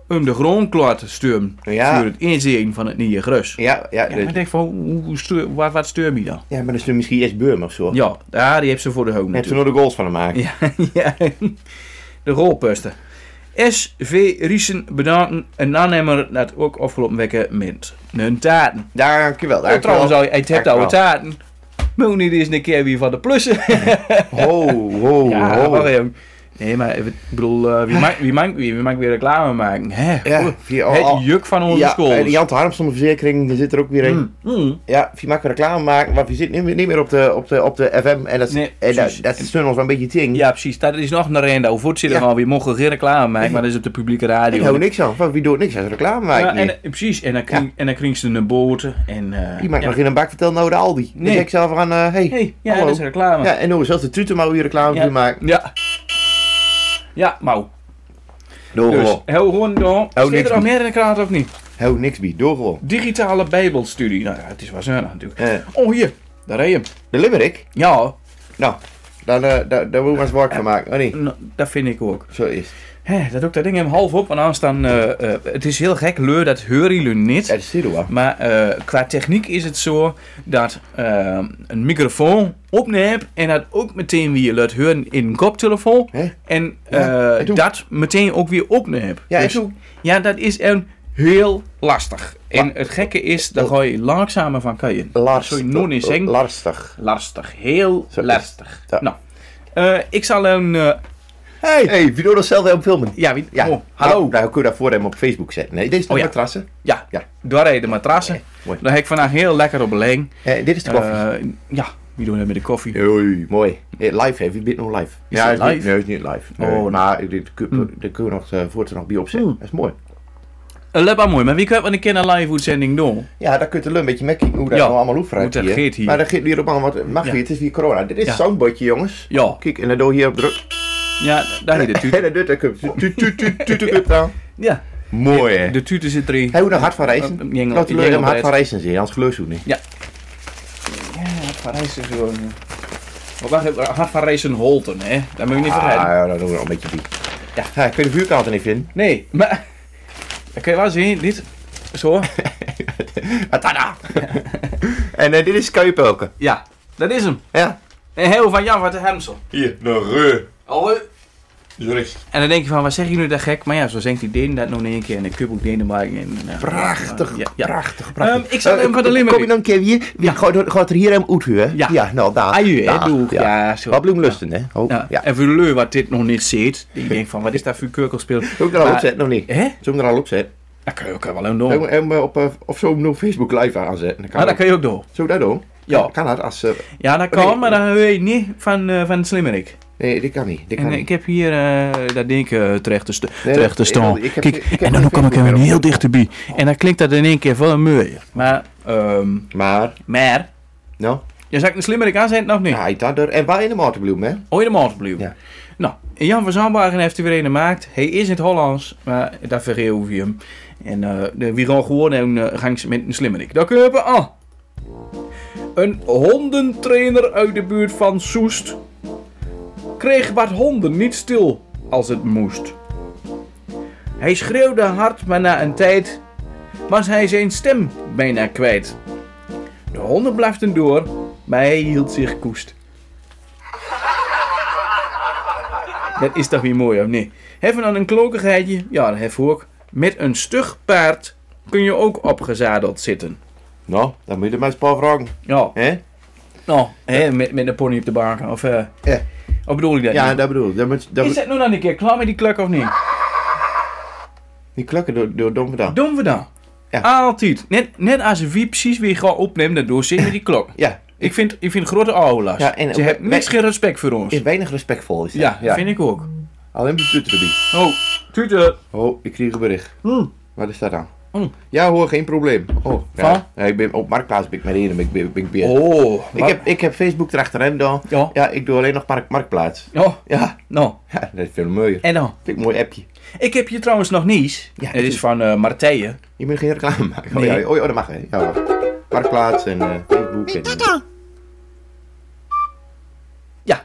Speaker 4: Om de grond klaar te sturen.
Speaker 3: Ja.
Speaker 4: Voor het inzien van het nieuwe gras.
Speaker 3: Ja, ja,
Speaker 4: Ja,
Speaker 3: de-
Speaker 4: maar ik denk van, hoe, hoe stuur, wat, wat stuur je dan?
Speaker 3: ja, maar dat is nu misschien eerst Beurm of zo.
Speaker 4: Ja, ja, die heeft ze voor de hoogte.
Speaker 3: Net zo nog de goals van hem maken.
Speaker 4: Ja, ja. De rolpusten. SV Riesen bedanken een aannemer dat ook afgelopen weken mint. Een taarten.
Speaker 3: Dankjewel,
Speaker 4: Oh,
Speaker 3: dankjewel.
Speaker 4: trouwens, al, het hebt oude
Speaker 3: Dankjewel.
Speaker 4: taarten. Moet niet eens een keer wie van de plussen.
Speaker 3: Ho, ho,
Speaker 4: ja,
Speaker 3: ho.
Speaker 4: wacht even. Nee, maar even- ik bedoel, eh, wie, maakt, wie, maakt, wie, wie maakt weer reclame maken? Hè?
Speaker 3: Ja,
Speaker 4: Oeh,
Speaker 3: via al- al-
Speaker 4: het juk van onze
Speaker 3: Ja,
Speaker 4: school.
Speaker 3: en die Jan Harmstom verzekering, daar zit er ook weer een.
Speaker 4: Mm.
Speaker 3: Ja, je mag reclame maken, maar je zit niet meer, niet meer op, de, op, de, op de FM. En dat, is-
Speaker 4: Nee,
Speaker 3: en dat,
Speaker 4: precies.
Speaker 3: dat is ons wel een beetje ting.
Speaker 4: Ja, precies. Dat is nog een reden over het zitten
Speaker 3: Ja.
Speaker 4: van wie mogen geen reclame maken, maar dat is op de publieke radio.
Speaker 3: Ik hou niks aan. Van wie doet niks aan reclame
Speaker 4: Ja,
Speaker 3: maken?
Speaker 4: en,
Speaker 3: niet.
Speaker 4: eh, precies, en dan, kring, en dan kring ze een boter en... eh,
Speaker 3: Die maakt
Speaker 4: ja.
Speaker 3: nog in een bak vertel nou de Aldi.
Speaker 4: Nee.
Speaker 3: Dan zeg ik zelf aan, eh hey,
Speaker 4: hey, ja,
Speaker 3: hallo.
Speaker 4: dat is reclame.
Speaker 3: Ja, en hoe zelfs de Tutemouw hier reclame
Speaker 4: Ja.
Speaker 3: voor maken.
Speaker 4: Ja. Ja, mouw.
Speaker 3: Doe
Speaker 4: Dus,
Speaker 3: gewoon.
Speaker 4: heel gewoon door. Zit
Speaker 3: Oh. niks
Speaker 4: er nog
Speaker 3: meer.
Speaker 4: meer in de krant of niet?
Speaker 3: Hou niks bij, doe gewoon.
Speaker 4: Digitale bijbelstudie. Nou ja, het is wel zuinig natuurlijk.
Speaker 3: Eh,
Speaker 4: Oh, hier. Daar rij je hem.
Speaker 3: de Limerick?
Speaker 4: Ja,
Speaker 3: Nou, daar, eh, daar, daar moet ik maar eens werk van maken. Oh nee,
Speaker 4: nou, dat vind ik ook.
Speaker 3: zo is het.
Speaker 4: Hè, dat ook dat ding hem half op en aan staan. eh, eh, het is heel gek, leur, dat hoor je niet.
Speaker 3: Dat is het hoor.
Speaker 4: Maar eh, qua techniek is het zo dat eh, een microfoon opneemt en dat ook meteen weer laat horen in een koptelefoon.
Speaker 3: Hè?
Speaker 4: En
Speaker 3: Ja,
Speaker 4: eh,
Speaker 3: en toen-
Speaker 4: dat meteen ook weer opneemt.
Speaker 3: Ja, en
Speaker 4: Dus-
Speaker 3: toen?
Speaker 4: ja, dat is een heel lastig. En
Speaker 3: La-
Speaker 4: het gekke is, daar ga je langzamer van kan je.
Speaker 3: Lastig.
Speaker 4: Sorry, nog niet zeggen.
Speaker 3: Lastig.
Speaker 4: Lastig, heel
Speaker 3: Oh. Zo is-
Speaker 4: lastig.
Speaker 3: Ja.
Speaker 4: Nou, eh, ik zal een... eh,
Speaker 3: Hey, hey, wie doet dat zelf op filmen?
Speaker 4: ja, wie-
Speaker 3: Ja,
Speaker 4: oh, hallo.
Speaker 3: Nou, nou kun je dat voor hem op Facebook zetten. Nee, dit is de
Speaker 4: Oh, ja.
Speaker 3: matrassen.
Speaker 4: Ja,
Speaker 3: Ja.
Speaker 4: daar rijden de matrassen.
Speaker 3: mooi.
Speaker 4: Daar heb ik vandaag heel lekker op belegd.
Speaker 3: Eh, dit is de koffie.
Speaker 4: Eh, ja, wie doen dat met de koffie?
Speaker 3: Oei, mooi. Eh, Live, hè? Wie bent nog live?
Speaker 4: Is het
Speaker 3: is niet-
Speaker 4: live?
Speaker 3: Nee, is niet live. Nee,
Speaker 4: Oh, nee.
Speaker 3: maar dit kun, daar kun je nog eh, voortaan nog bij opzetten. Dat is mooi.
Speaker 4: Eh, Let maar mooi, maar wie kan een keer een live uitzending doen?
Speaker 3: Ja, daar kunt je een beetje mee kijken hoe dat
Speaker 4: Ja,
Speaker 3: nou allemaal hoeft
Speaker 4: hoe dat geeft hier.
Speaker 3: Maar dat geeft hier op allemaal wat mag
Speaker 4: Ja.
Speaker 3: hier, het is weer corona. Dit is
Speaker 4: Ja.
Speaker 3: een soundbordje, jongens.
Speaker 4: Ja,
Speaker 3: Kijk, en dan doe je hier op druk.
Speaker 4: ja daar heet de
Speaker 3: En
Speaker 4: tuut.
Speaker 3: dan doet dat kup. Tuut, tuut, tuut, tuut, tuut, tuut, tuut, dan.
Speaker 4: Ja,
Speaker 3: Mooi, hè?
Speaker 4: de tuut zit erin.
Speaker 3: Hij moet nog hard van
Speaker 4: Eh,
Speaker 3: reizen.
Speaker 4: eh, jengel-
Speaker 3: Laat hem hard
Speaker 4: jengelbreed.
Speaker 3: van reizen zien, anders geloof je het niet.
Speaker 4: Ja, Parijs is gewoon...
Speaker 3: eh.
Speaker 4: Maar wacht even, Hart van Racen Holten, hè? Dat moet je niet
Speaker 3: Ah,
Speaker 4: vergeten.
Speaker 3: ja, dat doen we nog een beetje diep.
Speaker 4: Ja.
Speaker 3: Ja. ik weet de vuurkant er niet vinden.
Speaker 4: Nee, maar... Dan kun je wel zien, dit... Zo.
Speaker 3: Ah, tada! en eh, dit is Kuipelken.
Speaker 4: Ja, dat is hem.
Speaker 3: Ja.
Speaker 4: Een heel van Jan van de Hemsel.
Speaker 3: Hier, de reu.
Speaker 4: Oh,
Speaker 3: Jurist.
Speaker 4: En dan denk je van, wat zeggen jullie dat gek? Maar ja, zo zingt die Deen dat nog in één keer. En de kubbel Denemarken. En, eh,
Speaker 3: Prachtig,
Speaker 4: ja, ja.
Speaker 3: prachtig, prachtig.
Speaker 4: Ehm, ik zal
Speaker 3: Eh,
Speaker 4: hem van de
Speaker 3: kom- Kom je
Speaker 4: Limerick.
Speaker 3: dan een keer hier?
Speaker 4: Ja.
Speaker 3: Ja. Gaat, gaat er hier hem uit, hè?
Speaker 4: Ja.
Speaker 3: nou, daar.
Speaker 4: Aju, Ah, hè?
Speaker 3: daar,
Speaker 4: Doeg. Ja, zo.
Speaker 3: Wat bloemlusten, hè? Oh,
Speaker 4: Ja.
Speaker 3: ja.
Speaker 4: En voor de leu wat dit nog niet ziet. Die denkt van, wat is dat voor kurkelspeel?
Speaker 3: Zullen we er al
Speaker 4: Maar-
Speaker 3: opzetten of niet?
Speaker 4: Hè?
Speaker 3: Zullen we er al opzetten?
Speaker 4: Dat kun je ook wel een
Speaker 3: Zullen
Speaker 4: doen.
Speaker 3: we hem eh, op, eh, of zo hem op Facebook live aanzetten? Dan kan
Speaker 4: Ah, dat
Speaker 3: dat.
Speaker 4: kun je ook doen.
Speaker 3: Zullen we dat doen?
Speaker 4: Ja.
Speaker 3: Kan- Kan dat als... eh,
Speaker 4: Ja, dat
Speaker 3: Oh,
Speaker 4: kan,
Speaker 3: nee.
Speaker 4: maar dan weet je niet van, eh, van Slimmerik.
Speaker 3: nee, dit kan niet. Dit kan
Speaker 4: En eh,
Speaker 3: niet.
Speaker 4: ik heb hier eh, dat ding eh, terecht te, sto-
Speaker 3: Nee,
Speaker 4: terecht te
Speaker 3: ik-
Speaker 4: staan.
Speaker 3: ik- ik heb-
Speaker 4: Kijk,
Speaker 3: ik heb
Speaker 4: en
Speaker 3: geen
Speaker 4: dan kom ik
Speaker 3: Facebook
Speaker 4: hem
Speaker 3: meer
Speaker 4: heel
Speaker 3: op.
Speaker 4: dichterbij. En dan klinkt dat in één keer veel mooier. Maar, ehm
Speaker 3: Maar,
Speaker 4: maar,
Speaker 3: nou,
Speaker 4: je zag een Slimmerik aanzetten of niet?
Speaker 3: ja, hij staat er. En waar in de Maartenbloem, hè?
Speaker 4: Ooit de Maasbloem.
Speaker 3: Ja.
Speaker 4: Nou, en Jan van Zandbergen heeft er weer een gemaakt. Hij is in het Hollands, maar daar vergeven we hem. En eh, de, wie gewoon gewoon en eh, gang ze met een slimmerik. Dat kunnen we aan. ah. Een hondentrainer uit de buurt van Soest kreeg wat honden niet stil als het moest. Hij schreeuwde hard, maar na een tijd was hij zijn stem bijna kwijt. De honden blaften door, maar hij hield zich koest. Dat is toch weer mooi, of niet? Hebben dan een klokigheidje? Ja, dat hebben we ook. Met een stug paard kun je ook opgezadeld zitten.
Speaker 3: Nou, dan moet je er maar eens een paar vragen.
Speaker 4: Ja,
Speaker 3: Hè?
Speaker 4: nou, hè, met, met een pony op de bank. Of, eh,
Speaker 3: Ja.
Speaker 4: of bedoel je dat
Speaker 3: Ja,
Speaker 4: niet?
Speaker 3: dat bedoel ik. Dat moet- dat
Speaker 4: Is
Speaker 3: moet-
Speaker 4: dat nou dan een keer klaar met die klok of niet?
Speaker 3: Die klukken door, door dom gedaan.
Speaker 4: Doen we dan.
Speaker 3: Ja.
Speaker 4: Altijd. Net, net als een wie precies weer gaat opnemen, dat doorzit met die klok.
Speaker 3: Ja,
Speaker 4: Ik vind, ik vind grote ouwelast.
Speaker 3: Ja, en-
Speaker 4: Ze hebben niks geen respect voor ons.
Speaker 3: is weinig respectvol. Is dat.
Speaker 4: Ja, vind ik ook.
Speaker 3: Alleen de tutor erbij.
Speaker 4: Oh, tuute.
Speaker 3: Oh, ik kreeg een bericht.
Speaker 4: Hm.
Speaker 3: Wat is dat dan? Ja hoor, geen probleem. Oh, ja.
Speaker 4: Van?
Speaker 3: Ja, ik ben op Marktplaats ben ik maar één, ik ben, ben ik weer.
Speaker 4: Oh,
Speaker 3: ik, heb, ik heb Facebook erachteraan dan.
Speaker 4: Ja.
Speaker 3: ja, ik doe alleen nog mark, Marktplaats.
Speaker 4: Oh,
Speaker 3: Ja.
Speaker 4: nou.
Speaker 3: ja, dat is veel mooier.
Speaker 4: En dan?
Speaker 3: Vind ik een mooi appje.
Speaker 4: Ik heb hier trouwens nog niets.
Speaker 3: Ja,
Speaker 4: het is van eh Martije.
Speaker 3: Je moet geen reclame maken. Oh,
Speaker 4: Nee.
Speaker 3: ja, oh, ja, dat mag hè. Ja, hoor. Marktplaats en eh, Facebook. En, eh,
Speaker 4: Ja. Oh.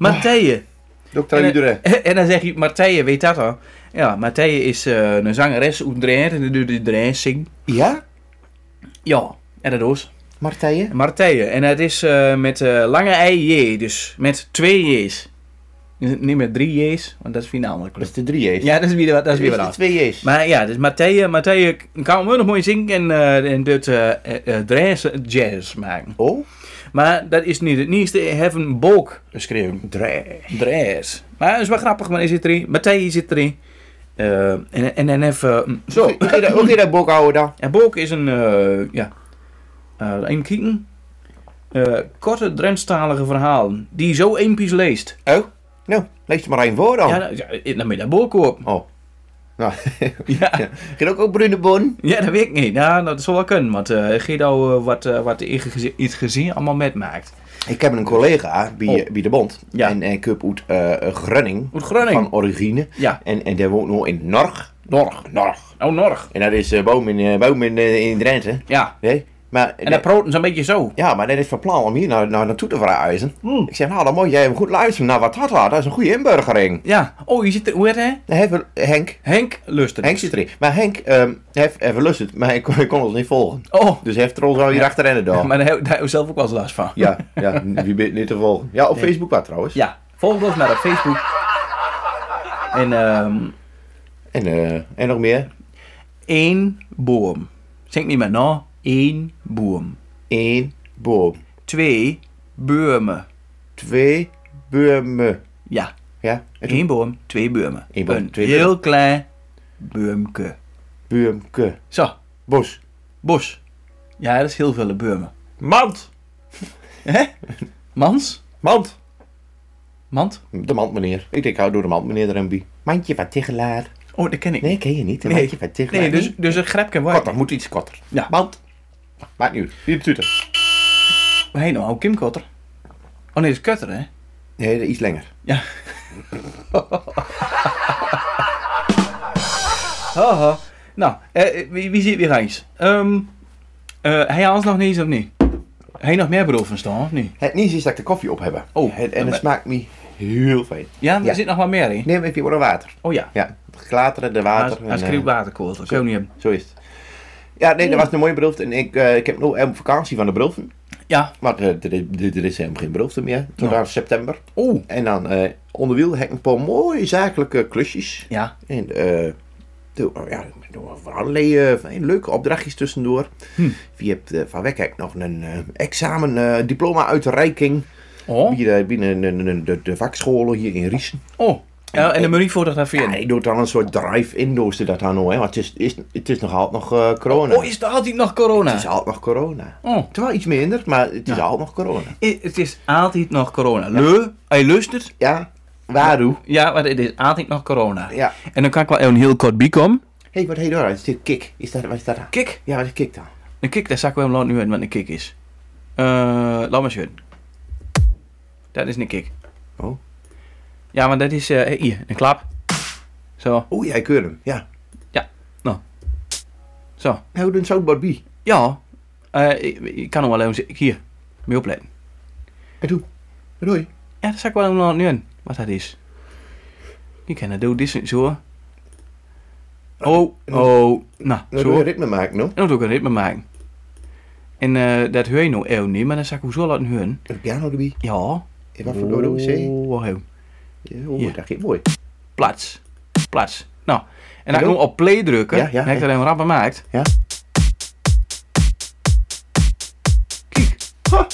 Speaker 4: Martije.
Speaker 3: Dokter
Speaker 4: en,
Speaker 3: Iedereen.
Speaker 4: dan- en dan zeg je, Martije, weet dat al? Ja, Martije is eh, een zangeres uit Drenthe en die doet in Drenthe zingen.
Speaker 3: Ja?
Speaker 4: Ja, en dat is
Speaker 3: Martije?
Speaker 4: Martije. En het is eh, met eh, lange I-J, dus met twee J's. Niet met drie J's, want dat is weer een andere
Speaker 3: Dat
Speaker 4: club.
Speaker 3: is de drie J's.
Speaker 4: Ja, dat is weer, wat- dat is weer
Speaker 3: de
Speaker 4: wat anders.
Speaker 3: twee J's.
Speaker 4: Maar ja, dus Matthijs Matthijs kan wel nog mooi zingen en, eh en doet eh eh, eh, Dres- jazz maken.
Speaker 3: Oh?
Speaker 4: Maar dat is niet het nieuwste. Hebben een balk geschreven. Dres. Dres. Maar dat is wel grappig, maar hij zit erin. Matthijs zit erin. Eh, en, en dan even... mm, Zo.
Speaker 3: Hoe ga je dat- hoe ga je dat bok houden dan?
Speaker 4: En balk is een... eh, ja. eh even kijken. Eh, korte Drentstalige verhalen. Die je zo eenpies leest.
Speaker 3: Oh? Nou, lees er maar één voor dan.
Speaker 4: Ja, nou, ja, dan ben je daar balk op.
Speaker 3: Oh. Nou,
Speaker 4: Ja.
Speaker 3: Geen ook ook Brunebon?
Speaker 4: Ja, dat weet ik niet. Nou, dat zou wel kunnen, want eh Guido eh, wat, eh wat ingege- iets gezien allemaal metmaakt.
Speaker 3: Ik heb een collega bij,
Speaker 4: Oh.
Speaker 3: bij de bond.
Speaker 4: Ja.
Speaker 3: En ik heb uit eh, Grunning.
Speaker 4: Uit Grunning.
Speaker 3: Van origine.
Speaker 4: Ja.
Speaker 3: En, en daar woont nog in Norg.
Speaker 4: Norg.
Speaker 3: Norg.
Speaker 4: Oh, Norg.
Speaker 3: En dat is eh boom in, eh, boom in, eh, in Drenthe.
Speaker 4: Ja.
Speaker 3: Nee? Maar,
Speaker 4: En dat proten ze een beetje zo.
Speaker 3: ja, maar dat is van plan om hier naar, naar naartoe te verhuizen.
Speaker 4: Hmm.
Speaker 3: Ik zeg, nou dan moet jij even goed luisteren naar wat dat had. Dat is een goede inburgering.
Speaker 4: Ja. Oh, je ziet er... Hoe heet hij?
Speaker 3: Dan hebben we Henk.
Speaker 4: Henk Lusten.
Speaker 3: Henk zit erin. Maar Henk ehm, heeft even lust het, maar hij kon, hij kon ons niet volgen.
Speaker 4: Oh.
Speaker 3: Dus hij heeft er ons al hier achterin gedaan.
Speaker 4: Maar daar heb daar heb ik zelf ook wel eens last van.
Speaker 3: Ja, ja, wie bent niet te volgen? Ja, op Facebook wat trouwens.
Speaker 4: Ja. Volg ons naar op Facebook. En ehm
Speaker 3: En, eh, en nog meer.
Speaker 4: één boom. Zing niet meer na. Eén boom.
Speaker 3: Eén boom.
Speaker 4: Twee bomen.
Speaker 3: Twee bomen.
Speaker 4: Ja.
Speaker 3: Ja, en toen
Speaker 4: Eén boom, twee bomen.
Speaker 3: Eén boom,
Speaker 4: een
Speaker 3: twee
Speaker 4: heel
Speaker 3: bomen.
Speaker 4: klein boomke.
Speaker 3: boomke.
Speaker 4: Zo.
Speaker 3: Bos.
Speaker 4: Bos. Ja, dat is heel veel Burmen. Mand! Hè? Mans?
Speaker 3: Mand.
Speaker 4: Mand?
Speaker 3: De mand, meneer. Ik denk, hou door de mand, meneer de Rembi. Mandje van Tichelaar.
Speaker 4: Oh, dat ken ik
Speaker 3: Nee,
Speaker 4: niet.
Speaker 3: ken je niet. Een mandje van Tichelaar.
Speaker 4: nee dus,
Speaker 3: niet?
Speaker 4: dus een grepje waar.
Speaker 3: Kotter, moet iets kotter.
Speaker 4: Ja.
Speaker 3: Mand. Maakt niet uit. Hier de tutor.
Speaker 4: Hé nou, oh, Kim Kotter. Oh nee, dat is Kutter, hè?
Speaker 3: Nee, iets langer.
Speaker 4: Ja. Haha. Nou, eh, wie, wie zit weer eens? Ehm eh hij Hans nog niet eens of niet? Hij nog meer brood van staan, of niet?
Speaker 3: Het niet is dat ik de koffie op heb.
Speaker 4: Oh.
Speaker 3: En, en het smaakt me heel fijn.
Speaker 4: Ja, maar
Speaker 3: Ja.
Speaker 4: er zit nog wat meer in.
Speaker 3: Neem even wat water.
Speaker 4: Oh ja.
Speaker 3: Ja, het glateren, de water.
Speaker 4: Hij
Speaker 3: en, eh,
Speaker 4: schreeuwt waterkool, dat kun je niet hebben.
Speaker 3: Zo is het. Ja, nee, dat was een mooie belofte. En ik, eh, ik heb nu een vakantie van de belofte.
Speaker 4: Ja.
Speaker 3: Maar eh, er, is- er, er is helemaal geen belofte meer. Tot
Speaker 4: Nou.
Speaker 3: aan september.
Speaker 4: Oeh.
Speaker 3: En dan eh onder wiel heb ik een paar mooie zakelijke klusjes.
Speaker 4: Ja.
Speaker 3: En eh doe, oh ja, ik doe van allerlei eh, van hele leuke opdrachtjes tussendoor.
Speaker 4: Hm.
Speaker 3: Je hebt eh, van weg heb ik nog een eh, examen, eh, diploma uitreiking.
Speaker 4: Oh.
Speaker 3: Binnen, binnen, binnen eh, de, de vakscholen hier in Riesen.
Speaker 4: Oh. Ja, en de Marie fotografeert.
Speaker 3: Ja, ik doe dan een soort drive-in doos dat dan hoor. hè, Want het is, is, het is nog altijd nog eh, corona.
Speaker 4: Oh, is er altijd nog corona?
Speaker 3: Het is altijd nog corona.
Speaker 4: Oh.
Speaker 3: Het is wel iets minder, maar het is altijd nog corona.
Speaker 4: I- Het is altijd nog corona. Leu, hij luistert.
Speaker 3: Ja, waarom?
Speaker 4: Ja, maar het is altijd nog corona.
Speaker 3: Ja.
Speaker 4: En dan kan ik wel even heel kort bijkomen.
Speaker 3: Hé, hey, wat heet dat? Is dit kik? Is dat, wat is dat dan?
Speaker 4: Kik.
Speaker 3: Ja, wat is kik dan?
Speaker 4: Een kik, daar zak ik wel lang nu uit wat een kik is. Eh, laat maar zien. Dat is een kik.
Speaker 3: Oh.
Speaker 4: Ja, maar dat is... eh, hier, een klap. Zo.
Speaker 3: Oeh, jij kunt hem. Oh, Ja.
Speaker 4: Zo.
Speaker 3: Nou, we doen zo'n Barbie.
Speaker 4: Ja. Eh, ik, ik kan hem wel even... zien. Hier. Mee opletten.
Speaker 3: En toen? Wat doe je?
Speaker 4: Ja, dat zak ik wel lang nu uit. Wat dat is. Ik kan dat doen. Dit is zo. Oh, oh. Nou,
Speaker 3: Nou, doe
Speaker 4: zo.
Speaker 3: je ritme maken, no?
Speaker 4: En dan moet ik een ritme maken. En eh, dat hoor je nou eeuw niet, maar dan zeg ik hoezo laten horen.
Speaker 3: Een piano erbij.
Speaker 4: Ja.
Speaker 3: En wat voor dodo is hij?
Speaker 4: Oh, heel.
Speaker 3: Ja, Oh,
Speaker 4: Ja.
Speaker 3: dat geeft mooi.
Speaker 4: Plats. Plats. Nou, en dan
Speaker 3: Hallo?
Speaker 4: ik nu op play drukken,
Speaker 3: Ja, ja,
Speaker 4: dan heb ik
Speaker 3: ja.
Speaker 4: er een rap gemaakt.
Speaker 3: Ja.
Speaker 4: Kijk. Ha.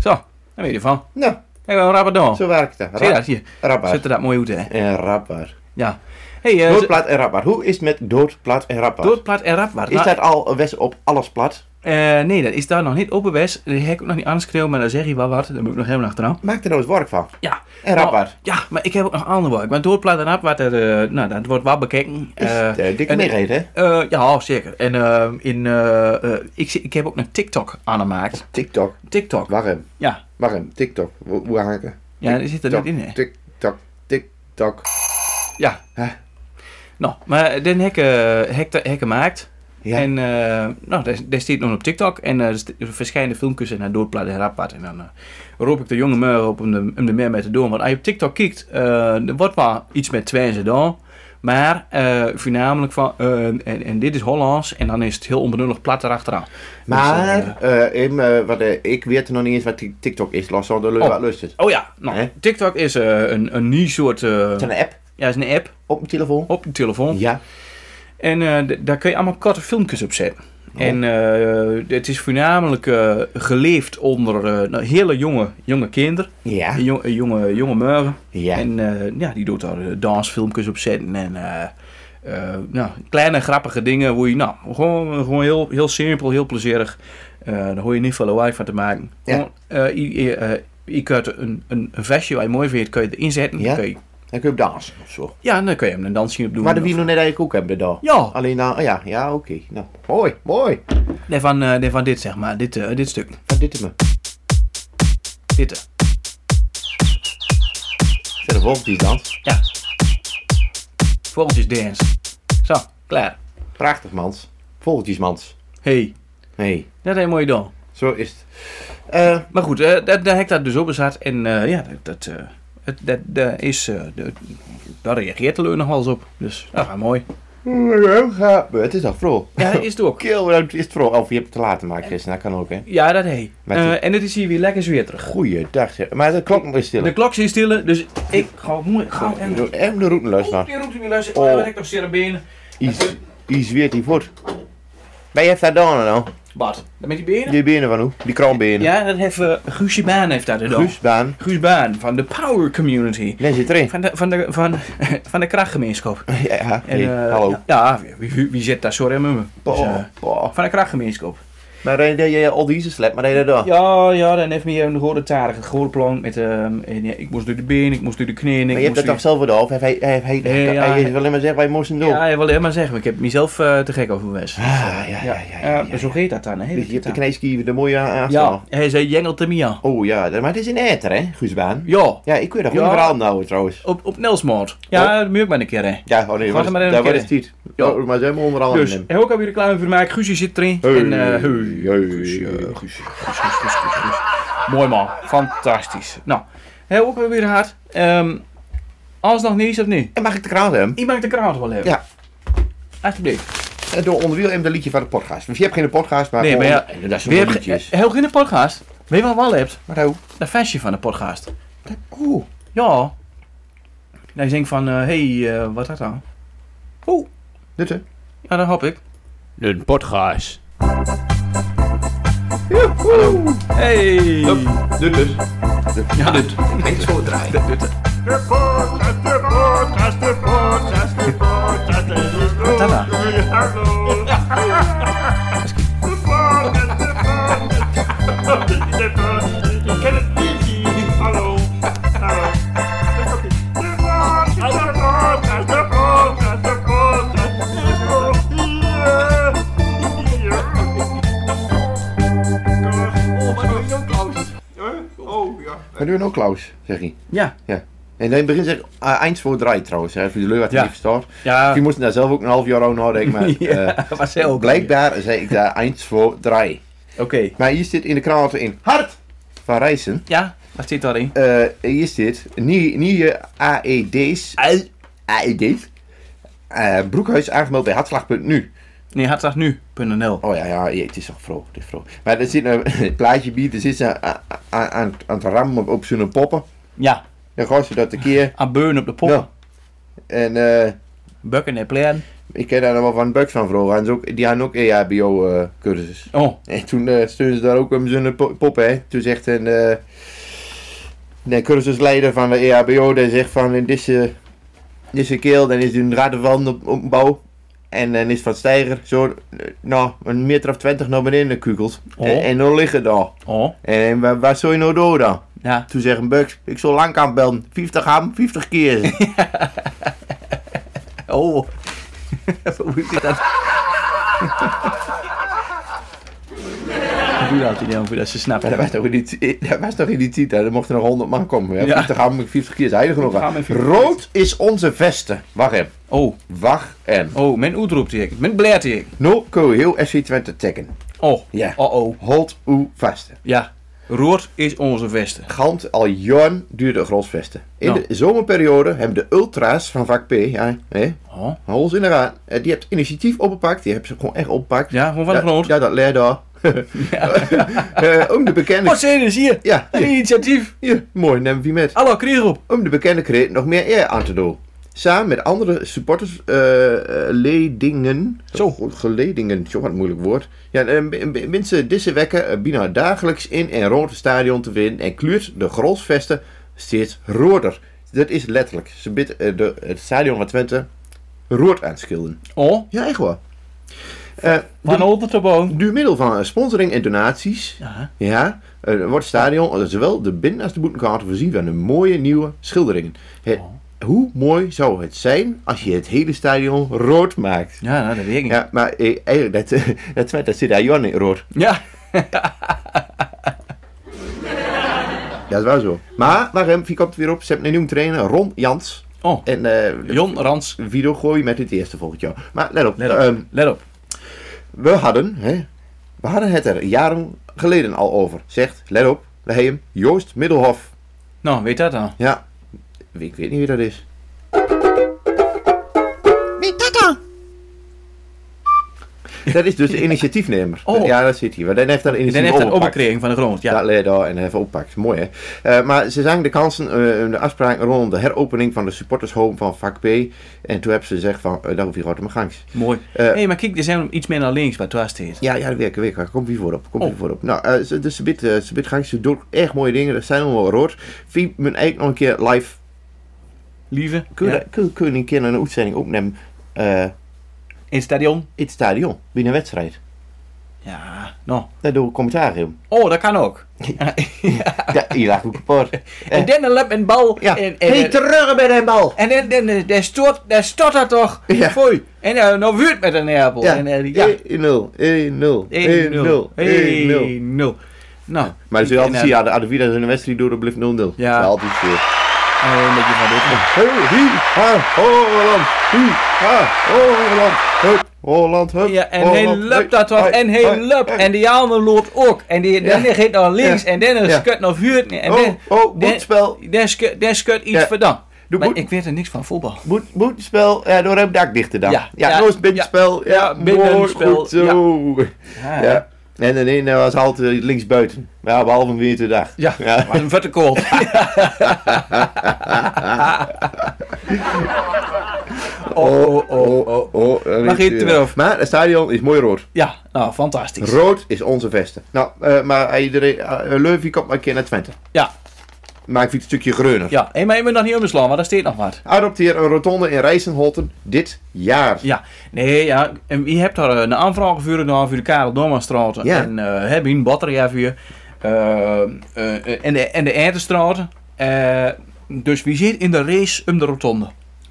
Speaker 4: Zo, daar ben je ervan.
Speaker 3: Nou,
Speaker 4: Kijk, wel een rap gedaan.
Speaker 3: zo werkt dat.
Speaker 4: Oh. Zie je dat hier? Zet
Speaker 3: Rapper.
Speaker 4: er dat mooi uit, hè?
Speaker 3: En rapper.
Speaker 4: Ja. Hey, eh
Speaker 3: Doodplat en rapper. Hoe is het met doodplat en rapper?
Speaker 4: doodplat en rap. Nou,
Speaker 3: Is dat al west op alles plat?
Speaker 4: Eh, nee, dat is daar nog niet open best. Die heb ik ook nog niet aanschreeuwen, maar dan zeg je wel wat. Daar moet ik nog helemaal achteraan.
Speaker 3: Maak er nou eens werk van.
Speaker 4: Ja.
Speaker 3: En
Speaker 4: Nou,
Speaker 3: Rappard.
Speaker 4: ja, maar ik heb ook nog ander werk. Maar doorplaat en Rappard, eh, nou, dat wordt wel bekeken. Eh,
Speaker 3: De dikke
Speaker 4: en-
Speaker 3: meerheid, hè?
Speaker 4: eh, ja, zeker. En eh, in, eh, eh, ik, zie- ik heb ook een TikTok aangemaakt.
Speaker 3: TikTok.
Speaker 4: TikTok.
Speaker 3: Wacht hem.
Speaker 4: Ja,
Speaker 3: Wacht hem. Tiktok. Hoe hoe haken?
Speaker 4: ja die zit er niet in. hè?
Speaker 3: TikTok. TikTok.
Speaker 4: Ja.
Speaker 3: Huh?
Speaker 4: Nou, maar den hek, eh, hek, hek gemaakt.
Speaker 3: Ja.
Speaker 4: En eh, nou, daar, daar staat nog op TikTok. En eh, er st- er verschijnen filmpjes en hij doodplaat en rapad. En dan eh, roep ik de jonge muur op om de, om de meer mee te doen. Want als je op TikTok kijkt, eh, er wordt wel iets met Twente dan. Maar eh, voornamelijk van, eh, en, en dit is Hollands. En dan is het heel onbenullig plat erachteraan. Dus, eh,
Speaker 3: Maar, eh, Im, eh, wat, eh, ik weet nog niet eens wat die TikTok is. Los al de lul
Speaker 4: Oh.
Speaker 3: wat lust het.
Speaker 4: oh ja, nou,
Speaker 3: Hè?
Speaker 4: TikTok is eh, een, een nieuw soort... eh,
Speaker 3: Het is een app
Speaker 4: ja, is een app
Speaker 3: op mijn telefoon.
Speaker 4: op je telefoon.
Speaker 3: Ja.
Speaker 4: En eh, d- daar kun je allemaal korte filmpjes op zetten.
Speaker 3: Oh.
Speaker 4: En eh, het is voornamelijk eh, geleefd onder eh, nou, hele jonge, jonge kinderen.
Speaker 3: Ja.
Speaker 4: Jong- eh, jonge, jonge meuren.
Speaker 3: Ja.
Speaker 4: En eh, ja, die doet daar eh, dansfilmpjes op zetten. En eh, eh, nou, kleine grappige dingen. Hoe je, nou, gewoon, gewoon heel, heel simpel, heel plezierig. Eh daar hoor je niet veel lawaai van te maken.
Speaker 3: Ja.
Speaker 4: Gewoon, eh, je, je, eh, je kunt een, een, een vestje waar je mooi vindt, kun je erin zetten.
Speaker 3: Ja.
Speaker 4: Kun je,
Speaker 3: Dan kun je op dansen of zo.
Speaker 4: ja, en dan kun je hem een dansje op doen.
Speaker 3: Maar de
Speaker 4: Of-
Speaker 3: wie nog net eigenlijk ook hebben daar.
Speaker 4: Ja,
Speaker 3: Alleen dan, oh ja, ja, oké. Nou, mooi, mooi.
Speaker 4: Nee, van, eh, nee, van dit zeg maar, dit, eh, dit stuk.
Speaker 3: Wat dit is me.
Speaker 4: Dit. eh.
Speaker 3: Zet een volk die dans.
Speaker 4: Ja. Vogeltjes dance. Zo, klaar.
Speaker 3: Prachtig, mans. Vogeltjesmans.
Speaker 4: Hey,
Speaker 3: Nee,
Speaker 4: dat is een mooie dan.
Speaker 3: zo is het. Eh,
Speaker 4: Maar goed, eh, dat, daar heb ik dat dus op gezet. En eh, ja, dat, dat, eh, het, dat, dat is, eh, de, daar reageert de leur nog wel eens op. Dus, nou, maar mooi.
Speaker 3: ja, het is al vroeg.
Speaker 4: Ja, dat is het ook.
Speaker 3: Kill, dat is het vroeg. Of je hebt het te laat gemaakt gisteren, dat kan ook, hè.
Speaker 4: Ja, dat hey.
Speaker 3: Met
Speaker 4: Eh,
Speaker 3: die-
Speaker 4: en het is hier weer lekker weer terug.
Speaker 3: Goeiedag, zeg. Maar de klok is stil.
Speaker 4: De klok zit stil, dus ik ga mooi. Ga en...
Speaker 3: Doe Even de route
Speaker 4: Oh,
Speaker 3: luisteren.
Speaker 4: die roept me luisteren. Oh,
Speaker 3: Oh.
Speaker 4: dan heb ik toch cerebenen.
Speaker 3: Iets, iets weer die voet. Ben je daar dan nou?
Speaker 4: Bart, dan met die benen?
Speaker 3: Die benen van hoe? Die Dus, kraanbenen.
Speaker 4: Ja, dat heeft eh, Guusje Baan heeft dat gedaan.
Speaker 3: Guusbaan.
Speaker 4: Guus Baan van de Power Community.
Speaker 3: Daar zit erin.
Speaker 4: Van de, van de, van, van de krachtgemeenschap.
Speaker 3: Ja,
Speaker 4: En,
Speaker 3: hey,
Speaker 4: eh,
Speaker 3: hallo.
Speaker 4: Ja, wie, wie, wie zit daar sorry met me? Dus,
Speaker 3: Boah,
Speaker 4: eh,
Speaker 3: boah.
Speaker 4: van de krachtgemeenschap.
Speaker 3: Maar dan deed je al deze slap, maar deed je dat?
Speaker 4: Ja, ja, dan heeft me een hoorde tarig, een hoorde plank met, ehm, en, ja, ik moest door de benen, ik moest door de knieën, ik
Speaker 3: Maar je hebt
Speaker 4: moest
Speaker 3: dat toch
Speaker 4: door...
Speaker 3: zelf wel of hij, hij, hij, hij,
Speaker 4: Nee,
Speaker 3: hij-
Speaker 4: ja,
Speaker 3: hij
Speaker 4: hij-
Speaker 3: is wel alleen maar zeggen wij moesten doen.
Speaker 4: Ja, ja, wel helemaal zeggen, ik heb mezelf eh, te gek over was.
Speaker 3: Ah, ja, ja, ja. ja, ja,
Speaker 4: Eh, Zo heet dat dan,
Speaker 3: Dus je
Speaker 4: hè?
Speaker 3: hebt de
Speaker 4: dat dan.
Speaker 3: knijskieven de mooie aan. aan-
Speaker 4: Ja, hij zei jengel te mia.
Speaker 3: Oh ja, dat- maar het is in Eter, hè, Guusbaan?
Speaker 4: Ja,
Speaker 3: Ja, ik weet dat
Speaker 4: Ja.
Speaker 3: goed verhaal nou trouwens.
Speaker 4: op, op Nelsmoord. Ja, dat moet ik maar een keer, hè.
Speaker 3: Ja, oh nee,
Speaker 4: Gaat
Speaker 3: wat is-
Speaker 4: er maar in
Speaker 3: daar
Speaker 4: een
Speaker 3: was
Speaker 4: keer
Speaker 3: het niet.
Speaker 4: Ja.
Speaker 3: Oh, Maar ze hebben onder andere
Speaker 4: Dus, en ook alweer reclame voor maken. Guusje zit erin.
Speaker 3: Hey,
Speaker 4: en, eh,
Speaker 3: hey.
Speaker 4: Guusje, eh, Guusje, Guusje, Guusje, Guusje, Guusje. Mooi man, fantastisch. Nou, hè, ook weer hard. Ehm als nog niets of niet?
Speaker 3: En mag ik de kraan hem?
Speaker 4: Iemand de kraan wel hebben?
Speaker 3: Ja.
Speaker 4: Alsjeblieft.
Speaker 3: En door onderwiel hem de liedje van de podcast. Want je hebt geen podcast, maar
Speaker 4: Nee, maar
Speaker 3: gewoon...
Speaker 4: ja, eh,
Speaker 3: en dat is
Speaker 4: We
Speaker 3: een
Speaker 4: hebben
Speaker 3: liedjes.
Speaker 4: heel geen podcast. Weet je wat we al hebt?
Speaker 3: Maar hoe?
Speaker 4: Dat vestje van de podcast.
Speaker 3: Oeh.
Speaker 4: Ja. Dan denk ik van, hé, hey, eh, wat dat dan? Oeh,
Speaker 3: Dit hè?
Speaker 4: ja, dat hoop ik.
Speaker 5: Een podcast.
Speaker 4: Hey.
Speaker 3: Dit dus.
Speaker 4: Ja, dit.
Speaker 6: The podcast, the podcast, the podcast, the podcast, the
Speaker 4: Tata.
Speaker 6: Hallo. Hallo. De podcast, de podcast, de podcast, de podcast, de podcast. Hier. Huh? Oh, ja.
Speaker 3: Maar nu ook Klaus, zeg hij.
Speaker 4: Ja.
Speaker 3: Ja. En in het begin zeg ik uh, eind voor draai trouwens, hè, voor de leuk wat hij
Speaker 4: Ja.
Speaker 3: niet verstaat.
Speaker 4: Ja.
Speaker 3: Die moesten daar zelf ook een half jaar over nadenken, maar
Speaker 4: Ja,
Speaker 3: eh,
Speaker 4: was heel goed.
Speaker 3: blijkbaar zei ik daar eind voor draai.
Speaker 4: Oké.
Speaker 3: Maar hier zit in de krant in Hart van Rijssen,
Speaker 4: Ja, wat zit daarin?
Speaker 3: eh, hier zit nie- E nieuwe AED's,
Speaker 4: Ui.
Speaker 3: AED's, E eh, Broekhuis aangemeld bij hartslag.nu.
Speaker 4: Nee, hartslagnu.nl.
Speaker 3: Oh ja, ja, ja, het is toch vroeg, het is vroeg. Maar er zit nou een plaatje bij, er zit ze aan, aan, aan, aan het rammen op, op zo'n poppen.
Speaker 4: Ja,
Speaker 3: Dan gaat ze dat een keer.
Speaker 4: aan beun op de pop.
Speaker 3: Ja. En eh,
Speaker 4: Bukken en plan.
Speaker 3: ik ken daar nog wel van Buck van vroeger. En ze ook, die hadden ook E eh, EHBO-cursus.
Speaker 4: Oh,
Speaker 3: en toen eh steunen ze daar ook om zo'n po- pop, hè. Toen zegt een eh, de cursusleider van de E EHBO, die zegt van in deze, deze keel, dan is een radenwand op, op bouw. En dan is Van Steiger zo, eh, nou, een meter of twintig naar beneden gekukeld.
Speaker 4: Oh.
Speaker 3: En, en dan liggen daar.
Speaker 4: Oh.
Speaker 3: En waar, waar zou je nou door dan?
Speaker 4: Ja.
Speaker 3: Toen zeggen Bugs, ik zal lang aan bellen. 50 ham, 50 keer.
Speaker 4: Oh. Hoe is dit dat? Hoe doe dat dan voordat ze
Speaker 3: Maar
Speaker 4: snappen?
Speaker 3: dat was toch in die, ti- dat was toch in die tijd, hè? Er mochten nog 100 man komen. hè?
Speaker 4: Ja.
Speaker 3: 50 ham, 50 keer is heilig genoeg.
Speaker 4: Ham
Speaker 3: hè?
Speaker 4: en 50 keer.
Speaker 3: Rood is onze vesten. Wacht even.
Speaker 4: Oh,
Speaker 3: Wacht en.
Speaker 4: oh, mijn uitroept ik. Mijn blert ik.
Speaker 3: No, ko, heel SC Twente tekken.
Speaker 4: Oh,
Speaker 3: Ja.
Speaker 4: oh, oh.
Speaker 3: Hold uw vasten.
Speaker 4: Ja, rood is onze vesten.
Speaker 3: Gant al jaren duurde grosvesten. In
Speaker 4: Nou.
Speaker 3: de zomerperiode hebben de ultra's van vak P, ja, hè,
Speaker 4: Oh.
Speaker 3: hou ons in de raad, eh, die hebt initiatief opgepakt. Die hebben ze gewoon echt opgepakt.
Speaker 4: Ja, gewoon van de
Speaker 3: Ja,
Speaker 4: grond.
Speaker 3: Ja, dat leer daar. Eh, Om de bekende...
Speaker 4: Wat zijn dus hier?
Speaker 3: Ja,
Speaker 4: Een
Speaker 3: hier,
Speaker 4: initiatief.
Speaker 3: hier, mooi, neem wie met.
Speaker 4: Hallo, kreeg op.
Speaker 3: Om de bekende kreet nog meer eer aan te doen. Samen met andere eh, supportersledingen.
Speaker 4: Zo.
Speaker 3: Oh, Geledingen, zo wat een moeilijk woord. Ja, eh, m- m- mensen deze wekken eh, bijna dagelijks in en rond het stadion te winnen. En kleurt de grolsvesten steeds roder. Dat is letterlijk. Ze bidt eh, de, het stadion van Twente rood aan te schilderen.
Speaker 4: Oh,
Speaker 3: Ja, echt waar. Eh,
Speaker 4: van onder te boom.
Speaker 3: door middel van eh, sponsoring en donaties
Speaker 4: Ja.
Speaker 3: ja, eh, wordt het stadion, eh, zowel de binnen- als de boetenkaarten, voorzien van een mooie nieuwe schilderingen. Het-
Speaker 4: Oh.
Speaker 3: Hoe mooi zou het zijn als je het hele stadion rood maakt?
Speaker 4: Ja, nou, dat weet ik niet.
Speaker 3: Ja, maar eh, eigenlijk, dat, eh, dat, Twente- dat zit daar Jan in rood.
Speaker 4: Ja.
Speaker 3: Ja, dat is wel zo. Maar, waarom? Wie komt het weer op? Ze hebben een nieuwe trainer, Ron Jans.
Speaker 4: Oh,
Speaker 3: En eh
Speaker 4: Jon Rans.
Speaker 3: Vido Gooi met het eerste volgend jaar. Maar let op,
Speaker 4: Let op.
Speaker 3: ehm,
Speaker 4: Let op.
Speaker 3: we hadden, hè, we hadden het er jaren geleden al over. Zegt, let op, we hebben hem, Joost Middelhof.
Speaker 4: Nou, weet dat dan.
Speaker 3: Ja, ik weet niet wie dat is.
Speaker 2: Wie dat dan?
Speaker 3: Dat is dus de initiatiefnemer.
Speaker 4: Oh.
Speaker 3: Ja, dat zit hier. Want dan heeft daar
Speaker 4: Dan
Speaker 3: initiatief
Speaker 4: heeft dat
Speaker 3: opgepakt.
Speaker 4: opgekregen van de grond.
Speaker 3: Ja.
Speaker 4: Ja.
Speaker 3: Dat leer je daar en even oppakt. Mooi hè. Eh, maar ze zagen de kansen, eh, de afspraak rondom de heropening van de supportershome van vak B. En toen hebben ze gezegd van, eh, daar hoef je gewoon te maar gangs.
Speaker 4: Mooi. Hé,
Speaker 3: Eh,
Speaker 4: hey, maar kijk, er zijn iets meer naar links waar Twaas staat.
Speaker 3: Ja, ja, dat werkt, dat werkt. Komt hier voorop, komt hier
Speaker 4: Oh.
Speaker 3: voorop. Nou, eh, ze- dus ze bid, eh, ze bid gangs, ze doet echt mooie dingen. Dat zijn allemaal rood. Vind men eigenlijk nog een keer live.
Speaker 4: Lieve.
Speaker 3: Kun je,
Speaker 4: Ja.
Speaker 3: dat- kun, kun je een keer een uitzending opnemen eh, in
Speaker 4: In het stadion.
Speaker 3: het stadion, binnen een wedstrijd?
Speaker 4: Ja, nou.
Speaker 3: Daar doe ik commentaar in.
Speaker 4: Oh, dat kan ook.
Speaker 3: Ja, hier lag ook kapot.
Speaker 4: En dan een lap en bal.
Speaker 3: Eh. Ja,
Speaker 4: En,
Speaker 3: hey,
Speaker 4: en,
Speaker 3: terug bij de bal!
Speaker 4: en, en, en, eh, daar stort, daar stort dat toch.
Speaker 3: Ja.
Speaker 4: Foei. En eh, nou wuurt met een appel. En, eh, ja.
Speaker 3: 1-0, 1-0,
Speaker 4: 1-0.
Speaker 3: 1-0.
Speaker 4: 1-0. Nou.
Speaker 3: Maar dat is
Speaker 4: ik-
Speaker 3: altijd
Speaker 4: en,
Speaker 3: zien, aan de- aan de wie dat in de wedstrijd door, dat blijft 0-0.
Speaker 4: Ja.
Speaker 3: Dat is altijd zo.
Speaker 4: eh, eh, een beetje van dit.
Speaker 3: Hey, hi, ha, Holland, hi, ha, Holland, hup, Holland, hup,
Speaker 4: Ja, en hij
Speaker 3: Holland,
Speaker 4: lupt
Speaker 3: Oh, hey,
Speaker 4: dat toch.
Speaker 3: hey,
Speaker 4: En
Speaker 3: hey,
Speaker 4: hij lupt.
Speaker 3: hey.
Speaker 4: En die ander loopt ook. En die, dan
Speaker 3: Ja.
Speaker 4: gaat naar links.
Speaker 3: Ja.
Speaker 4: En dan
Speaker 3: Ja.
Speaker 4: een skut naar vuurt. En
Speaker 3: Oh,
Speaker 4: dan-
Speaker 3: oh,
Speaker 4: dan-
Speaker 3: boetspel.
Speaker 4: Daar skut- daar skut iets
Speaker 3: Ja.
Speaker 4: verdam.
Speaker 3: Doe
Speaker 4: Maar
Speaker 3: boet-
Speaker 4: ik weet er niks van voetbal.
Speaker 3: Moet, moet spel, ja, door hem dak dichter dan.
Speaker 4: Ja,
Speaker 3: ja,
Speaker 4: ja,
Speaker 3: nooit binnen
Speaker 4: ja.
Speaker 3: spel. Ja,
Speaker 4: Ja, binnen
Speaker 3: mooi,
Speaker 4: spel,
Speaker 3: goed zo. Ja. En de ene was altijd links buiten. Ja, behalve weer te dag.
Speaker 4: Ja, maar een vette kool.
Speaker 3: Oh, oh, oh, oh. Dan
Speaker 4: Mag
Speaker 3: is
Speaker 4: je het
Speaker 3: weer-
Speaker 4: weer af?
Speaker 3: Maar het stadion is mooi rood.
Speaker 4: Ja, nou, fantastisch.
Speaker 3: Rood is onze vesten. Nou, eh, maar iedereen, eh, Leuven komt maar een keer naar Twente.
Speaker 4: Ja,
Speaker 3: Maar ik vind het een stukje greuner.
Speaker 4: ja. Hé, maar je moet nog niet omslaan, want daar staat nog wat.
Speaker 3: Adopteer een rotonde in Rijsenholten dit jaar.
Speaker 4: Ja, nee, ja. En je hebt daar eh, een aanvraag gevuurd gedaan voor de Karel Dommerstraat.
Speaker 3: Ja.
Speaker 4: En eh heb je een batterij voor. eh, eh, en de, en de Erdenstraat. Eh, dus wie zit in de race om de rotonde?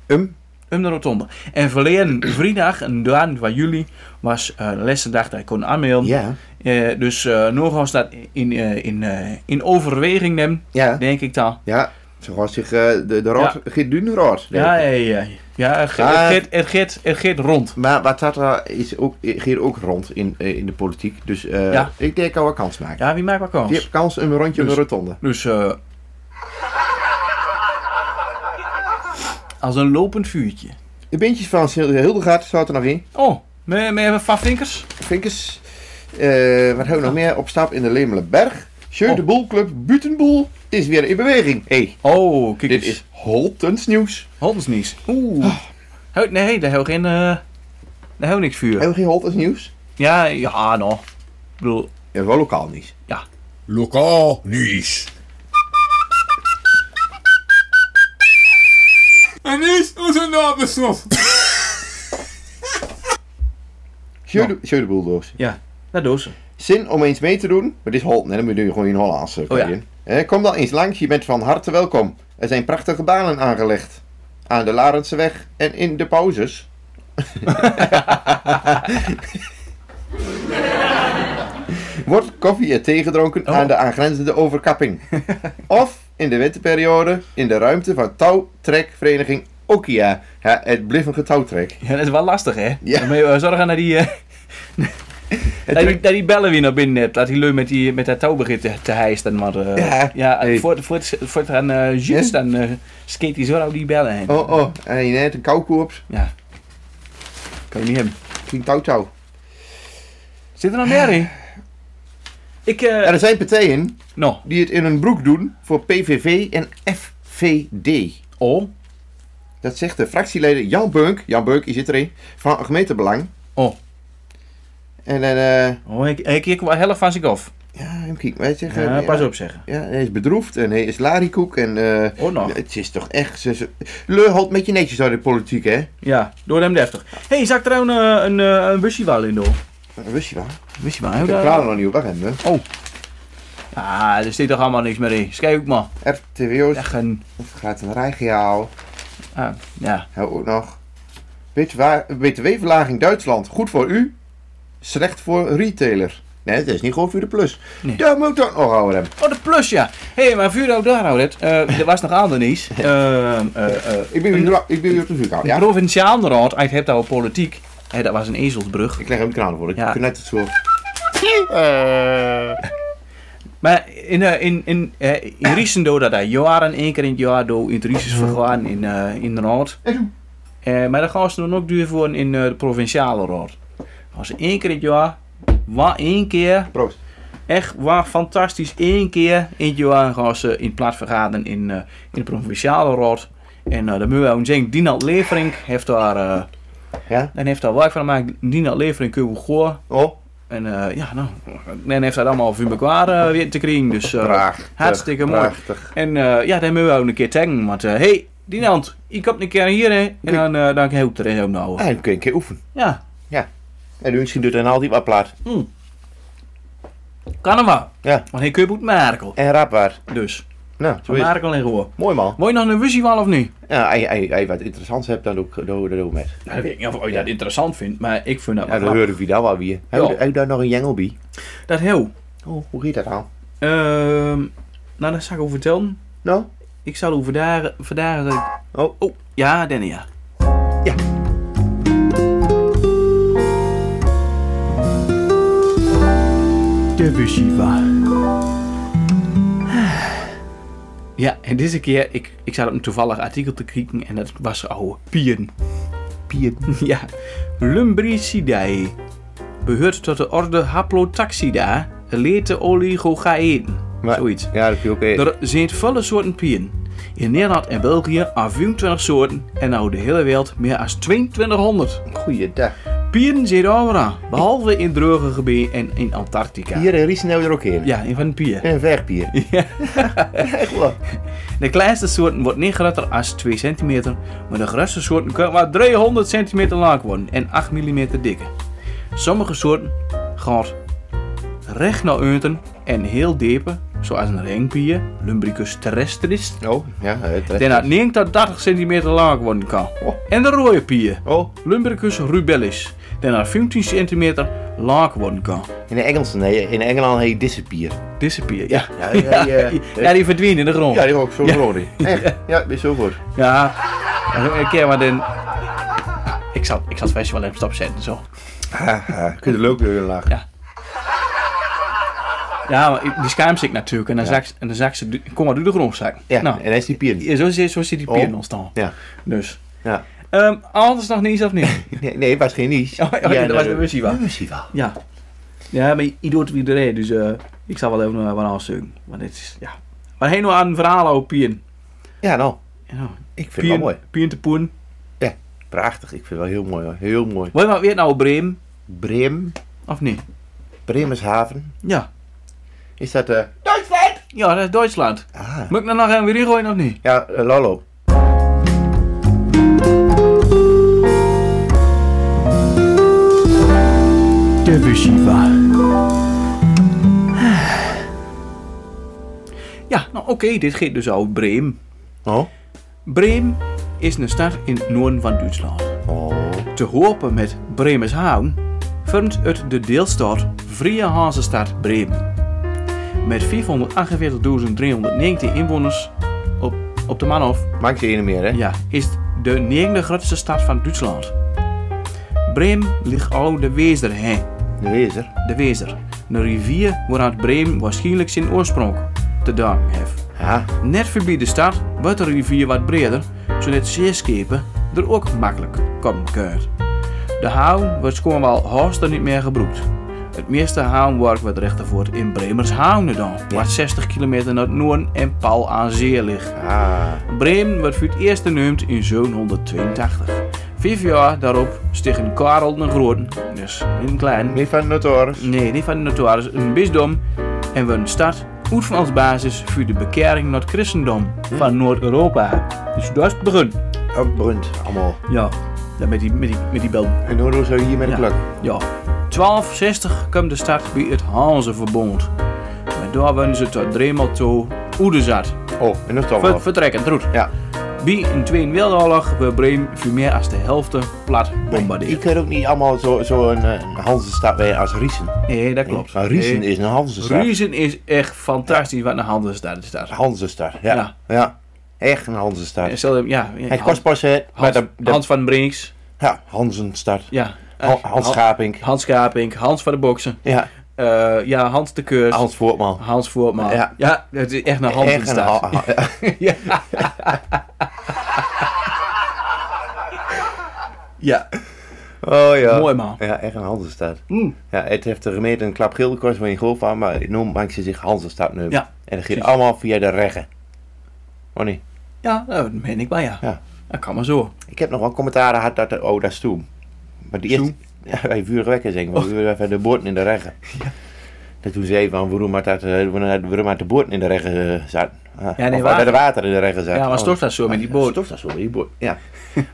Speaker 3: Um,
Speaker 4: Om de rotonde. En verleden vrijdag, een dag van juli, was eh, de laatste dag dat ik kon aanmelden.
Speaker 3: ja,
Speaker 4: Eh, dus eh Noorgaan staat in, eh, in, eh, in overweging nemen,
Speaker 3: ja,
Speaker 4: denk ik dan.
Speaker 3: ja. Zo was zich eh, de, de rood,
Speaker 4: Ja.
Speaker 3: Geert Duun rood.
Speaker 4: Ja, ja, ja. ja het, ge-
Speaker 3: Maar-
Speaker 4: het, geeft- het, geeft- het geeft rond.
Speaker 3: Maar wat dat eh, is ook, Geert ook rond in, eh, in de politiek. Dus eh,
Speaker 4: Ja.
Speaker 3: ik denk dat we kans maken.
Speaker 4: Ja, wie maakt wel kans?
Speaker 3: Je hebt kans om een rondje om
Speaker 4: Dus-
Speaker 3: de rotonde.
Speaker 4: Dus, eh, als een lopend vuurtje.
Speaker 3: De beentjes van Hildegard staat er nog in.
Speaker 4: Oh, met, met Van Vinkers?
Speaker 3: Vinkers. Eh, wat hebben we nog meer? Op stap in de Lemelenberg. Sjeu de
Speaker 4: Oh.
Speaker 3: Boelclub Butenboel is weer in beweging. Hé, hey, dus-
Speaker 4: Oh, kijk
Speaker 3: dit
Speaker 4: eens.
Speaker 3: is Holtens nieuws.
Speaker 4: Hondensnies. Oeh. Oh. Hou- Nee, daar heb ik geen... eh daar heb ik niks vuur.
Speaker 3: Hebben we geen Holtens nieuws?
Speaker 4: Ja, ja, nou. Ik bedoel,
Speaker 3: Ja, wel lokaal nieuws.
Speaker 4: ja.
Speaker 1: Lokaal nieuws.
Speaker 2: En nu is onze naam beslot.
Speaker 3: Sjeu de- sjeu de bulldozer.
Speaker 4: Ja, naar dozen.
Speaker 3: Zin om eens mee te doen? Het is Holt, hè? dan doe je gewoon in Hollandse.
Speaker 4: Oh, ja.
Speaker 3: Eh, kom dan eens langs, je bent van harte welkom. Er zijn prachtige banen aangelegd. Aan de Larentseweg en in de pauzes. Wordt koffie en thee gedronken
Speaker 4: Oh.
Speaker 3: aan de aangrenzende overkapping. of in de winterperiode in de ruimte van touwtrekvereniging Okia. Ja, het bliffige touwtrek.
Speaker 4: Ja, dat is wel lastig, hè?
Speaker 3: Ja.
Speaker 4: Dan moet je wel zorgen dat die, eh, dat, die, dat die bellen weer naar binnen hebt. Dat die lui met, die, met dat touw begint te, te hijsten. Maar eh,
Speaker 3: Ja,
Speaker 4: ja
Speaker 3: nee.
Speaker 4: voor, voor, het- voor het gaan eh juist, dan eh, skate hij zo naar die bellen heen.
Speaker 3: Oh, oh, en je net een koukoeps.
Speaker 4: Ja. Kan je niet hebben.
Speaker 3: Geen touwtouw.
Speaker 4: Zit er nog meer in? Ik, eh,
Speaker 3: Er zijn partijen
Speaker 4: nou,
Speaker 3: die het in hun broek doen voor PVV en FVD.
Speaker 4: oh,
Speaker 3: Dat zegt de fractieleider Jan Beunk, Jan Beunk, je zit erin, van gemeentebelang.
Speaker 4: oh,
Speaker 3: En dan, eh,
Speaker 4: oh, ik, ik, ik wel helft van zich af.
Speaker 3: ja, hem kijk, wij zeggen...
Speaker 4: Ja, pas op zeggen.
Speaker 3: eh, Ja, hij is bedroefd en hij is larikoek en... eh,
Speaker 4: Oh, nog.
Speaker 3: Het is toch echt... Ze, ze, Leu houdt met je netjes door de politiek, hè?
Speaker 4: Ja, door hem deftig. Hé, hey, zak er een, eh, een, eh, een busje wel in door?
Speaker 3: Wist je wel? Ik
Speaker 4: Wist je maar,
Speaker 3: heb het verhaal nog niet op weg, hè?
Speaker 4: Ah, er zit toch allemaal niks meer in. Schrijf ook maar.
Speaker 3: RTWO's,
Speaker 4: Echt een...
Speaker 3: het gaat een rijgehaal.
Speaker 4: Ah, ja.
Speaker 3: Hou ook nog. BTW-verlaging Duitsland. Goed voor u, slecht voor retailer. Nee, het is niet goed voor de plus.
Speaker 4: Nee.
Speaker 3: Daar moet ik toch nog houden hebben.
Speaker 4: Oh, de plus, ja. Hé, hey, maar vuur ook daar, Audet. Eh er was nog aan, Denise. Ehm, eh, eh,
Speaker 3: Ik ben weer, dra- ik ben weer op de vuurkamer.
Speaker 4: De
Speaker 3: Ja?
Speaker 4: provinciaal raad, uit hebt al politiek. Hé, dat was een ezelsbrug.
Speaker 3: Ik leg hem de kraan voor. Ik
Speaker 4: Ja.
Speaker 3: kan net het zo.
Speaker 4: Maar in, eh, in, in, eh, in Riesendo, dat hij jaren, één keer in het jaar, door in het Rieses vergaan in, eh, in de raad. Eh, maar dat gaan ze dan ook duur voor in eh, de provinciale raad. Als ze één keer in het jaar, waar één keer
Speaker 3: Proost.
Speaker 4: Echt waar, fantastisch. Eén keer in het jaar gaan ze in plaats vergaderen in, eh, in de provinciale raad. En eh dan moeten we ook zeggen, Dinald Leverink heeft daar, eh,
Speaker 3: Ja?
Speaker 4: dan heeft daar werk van gemaakt. Dinald Leverink kun je goor.
Speaker 3: Oh,
Speaker 4: En eh, ja, nou, dan heeft hij dat allemaal voor elkaar eh, weer te krijgen. Dus eh,
Speaker 3: prachtig.
Speaker 4: hartstikke mooi.
Speaker 3: Prachtig.
Speaker 4: En eh, ja, dan moeten we ook een keer taggen. Want hé, hey, Dinald, je komt een keer hier hè. En dan, eh dan helpt er eens ook nou.
Speaker 3: Ah, dan kun je een keer oefenen.
Speaker 4: Ja,
Speaker 3: En nu misschien doet hij al die wat plaat.
Speaker 4: kan hem wel.
Speaker 3: Ja.
Speaker 4: Want hij kun je goed Merkel.
Speaker 3: En rapwaard.
Speaker 4: Dus,
Speaker 3: Nou, zo
Speaker 4: van
Speaker 3: is het.
Speaker 4: Merkel en Goor.
Speaker 3: Mooi man.
Speaker 4: Moet je nog een wussie wel of niet?
Speaker 3: Ja, als je- als je- als je wat interessants hebt, dan doe ik dan doe ik- dan doe ik met.
Speaker 4: Nou, ik weet niet of je dat interessant vindt, maar ik vind
Speaker 3: Ja,
Speaker 4: dat wel
Speaker 3: dan
Speaker 4: grappig.
Speaker 3: hoorde we dat wel weer. Heb je- heb je daar nog een jengel bij?
Speaker 4: Dat heel.
Speaker 3: Oh, hoe gaat dat aan?
Speaker 4: Ehm, nou, dat zal ik over vertellen.
Speaker 3: Nou?
Speaker 4: Ik zal over daar... Vandaar dat ik-
Speaker 3: Oh.
Speaker 4: Oh, ja, Danny, ja. Ja. De Bushiva. Ja, en deze keer, ik, ik zat op een toevallig artikel te krieken en dat was oude pieren.
Speaker 3: Piet.
Speaker 4: Ja, Lumbricidae. Behoort tot de orde Haplotaxida, lete oligogaeten.
Speaker 3: Maar-
Speaker 4: Zoiets.
Speaker 3: Ja, dat vind ik ook
Speaker 4: Er zijn vele soorten pieren. In Nederland en België aan 24 soorten en over de hele wereld meer dan 2200.
Speaker 3: Goeiedag.
Speaker 4: Pieren zijn overal, behalve in droge gebieden en in Antarctica.
Speaker 3: Hier in Riesendouw er ook in.
Speaker 4: Ja, in van de pier.
Speaker 3: En een verpier.
Speaker 4: Ja.
Speaker 3: Echt wel.
Speaker 4: De kleinste soorten wordt niet groter als 2 centimeter, maar de grootste soorten kunnen maar 300 centimeter lang worden en 8 mm dik. Sommige soorten gaan recht naar unten en heel diepe, zoals een ringpier, Lumbricus terrestris,
Speaker 3: Oh, ja, het
Speaker 4: die naar 9 tot 30 centimeter lang worden kan.
Speaker 3: Oh.
Speaker 4: En de rode pier,
Speaker 3: Oh,
Speaker 4: Lumbricus rubellis, die naar 15 centimeter lang worden kan.
Speaker 3: in de Engels, nee, in Engeland heet disappear.
Speaker 4: Disappear, ja.
Speaker 3: Ja, ja, ja.
Speaker 4: Ja, die verdween in de grond.
Speaker 3: Ja, die ook zo glorie. Echt? Ja, weer zo goed.
Speaker 4: Ja, een keer maar den. Ik zal, ik zal het festival even stopzetten, zo.
Speaker 3: Haha, kun je er leuk weer in lachen.
Speaker 4: Ja. Ja, maar ik- die schuimt ik natuurlijk. En dan zag ze- en dan zag ze, du- kom maar, doe de grondzaak.
Speaker 3: Ja,
Speaker 4: nou,
Speaker 3: en hij is die pier.
Speaker 4: ja, zo, zit- zo zit die pier
Speaker 3: Oh.
Speaker 4: ontstaan.
Speaker 3: Ja.
Speaker 4: Dus.
Speaker 3: ja.
Speaker 4: Ehm, anders nog niet, of niet?
Speaker 3: Nee, nee, het was geen niets.
Speaker 4: Oh, oh, dat was een Musiba.
Speaker 3: Musiba.
Speaker 4: ja. Ja, maar je je doet het weer doorheen, dus eh, ik zal wel even eh, wat afzeugen. Want dit is, ja. Maar heen nou aan een verhaal over Pien.
Speaker 3: Ja, nou,
Speaker 4: Ja,
Speaker 3: ik vind het wel
Speaker 4: Pien,
Speaker 3: mooi.
Speaker 4: Pien te poen.
Speaker 3: Ja, prachtig. Ik vind het wel heel mooi hoor. Heel mooi.
Speaker 4: Wil je maar weer naar Bremen,
Speaker 3: Brim,
Speaker 4: of niet?
Speaker 3: Bremershaven.
Speaker 4: Ja.
Speaker 3: Is dat eh...
Speaker 4: Ja, dat is Duitsland.
Speaker 3: Ah.
Speaker 4: Moet ik er nog een weer ingooien of niet?
Speaker 3: Ja, eh, Lolo.
Speaker 4: de Bushiva. Ja, nou oké, dit geeft dus over Bremen.
Speaker 3: Oh.
Speaker 4: Bremen is een stad in het noorden van Duitsland.
Speaker 3: Oh.
Speaker 4: Te hopen met Bremerhaven vormt het de deelstaat Vrije Hansestad Bremen. Met 448.319 inwoners op, op de Manhof
Speaker 3: Maakt je ene meer, hè?
Speaker 4: ja, is de negende grootste stad van Duitsland. Bremen ligt al de Wezer heen.
Speaker 3: De wezer.
Speaker 4: De Wezer, een rivier waaruit Bremen waarschijnlijk zijn oorsprong te danken heeft.
Speaker 3: Ja.
Speaker 4: Net voorbij de stad wordt de rivier wat breder, zodat zeeschepen er ook makkelijk komen kunnen. De haven wordt gewoon wel haast niet meer gebruikt. Het meeste havenwerk wordt rechtervoort in Bremershaven gedaan, wat 60 kilometer naar het noorden en pal aan zee ligt.
Speaker 3: Ah.
Speaker 4: Bremen werd voor het eerst genoemd in 782. Vijf jaar daarop stichten Karel de Groten, dus een klein,
Speaker 3: Niet van Notoris.
Speaker 4: nee, niet van de notaris, een bisdom en werd een stad uit van als basis voor de bekering naar het christendom
Speaker 3: Hm.
Speaker 4: van Noord-Europa. Dus dat is het begin.
Speaker 3: Ook brunt. Allemaal.
Speaker 4: Ja, ja, met die, met die, met die bel.
Speaker 3: En hoe doen ze hier met de klok?
Speaker 4: Ja. 1260 kwam de stad bij het Hanzeverbond. Maar daar werden ze tot driemaal toe Oedezat.
Speaker 3: Oh, en dat is toch
Speaker 4: Ver,
Speaker 3: wel.
Speaker 4: vertrekkend, roet.
Speaker 3: Ja.
Speaker 4: Wie in Tweede Wereldoorlog werd Bremen voor meer dan de helft plat
Speaker 3: Je
Speaker 4: bombardeerd.
Speaker 3: kunt ook niet allemaal zo'n zo een, eh, een Hansenstad weer als Riesen.
Speaker 4: Nee, dat klopt.
Speaker 3: Maar Riesen is een Hansenstad.
Speaker 4: Riesen is echt fantastisch wat een handelsstad is daar.
Speaker 3: Hansenstad, ja.
Speaker 4: Ja.
Speaker 3: ja. Echt een Hansenstad.
Speaker 4: En stel dat- Ja, ja,
Speaker 3: Hij
Speaker 4: Han-
Speaker 3: kost pas het, maar
Speaker 4: Hans,
Speaker 3: de, de-
Speaker 4: Hans van Brinks.
Speaker 3: ja, Hansenstad.
Speaker 4: Ja.
Speaker 3: Han- Hans Schapink.
Speaker 4: Hans Schapink, Hans van de Boksen.
Speaker 3: Ja,
Speaker 4: Eh, ja, Hans de Keur.
Speaker 3: Hans Voortman.
Speaker 4: Hans Voortman. Ja.
Speaker 3: Ja.
Speaker 4: het is echt een
Speaker 3: Echt een
Speaker 4: Hansenstad.
Speaker 3: Ha- ha-
Speaker 4: ja. ja,
Speaker 3: Oh ja.
Speaker 4: Mooi, man. Mm.
Speaker 3: Ja, echt een Hansenstad. Ja, het heeft de gemeente een klap geel gekost van je golf aan, maar nu maakt ze zich Hansenstad nu.
Speaker 4: Ja,
Speaker 3: En dat gaat
Speaker 4: precies.
Speaker 3: allemaal via de reggen. Oh nee.
Speaker 4: ja nou, dat meen ik maar, ja.
Speaker 3: Ja.
Speaker 4: Dat kan maar zo.
Speaker 3: Ik heb nog wel commentaren gehad dat... Oh, dat is toen. Maar die eerste... Ja, bij vuurwekkers denk ik.
Speaker 4: Oh.
Speaker 3: want We willen even de boorden in de regen. Dat toen zei van waarom had, dat, eh, waarom had- waarom had de boorden in de regen eh, zaten. Ah,
Speaker 4: Ja, nee,
Speaker 3: of
Speaker 4: water.
Speaker 3: dat de water in de regen zat.
Speaker 4: Ja, maar stof dat zo met die boot.
Speaker 3: Stof dat zo met die boot, ja.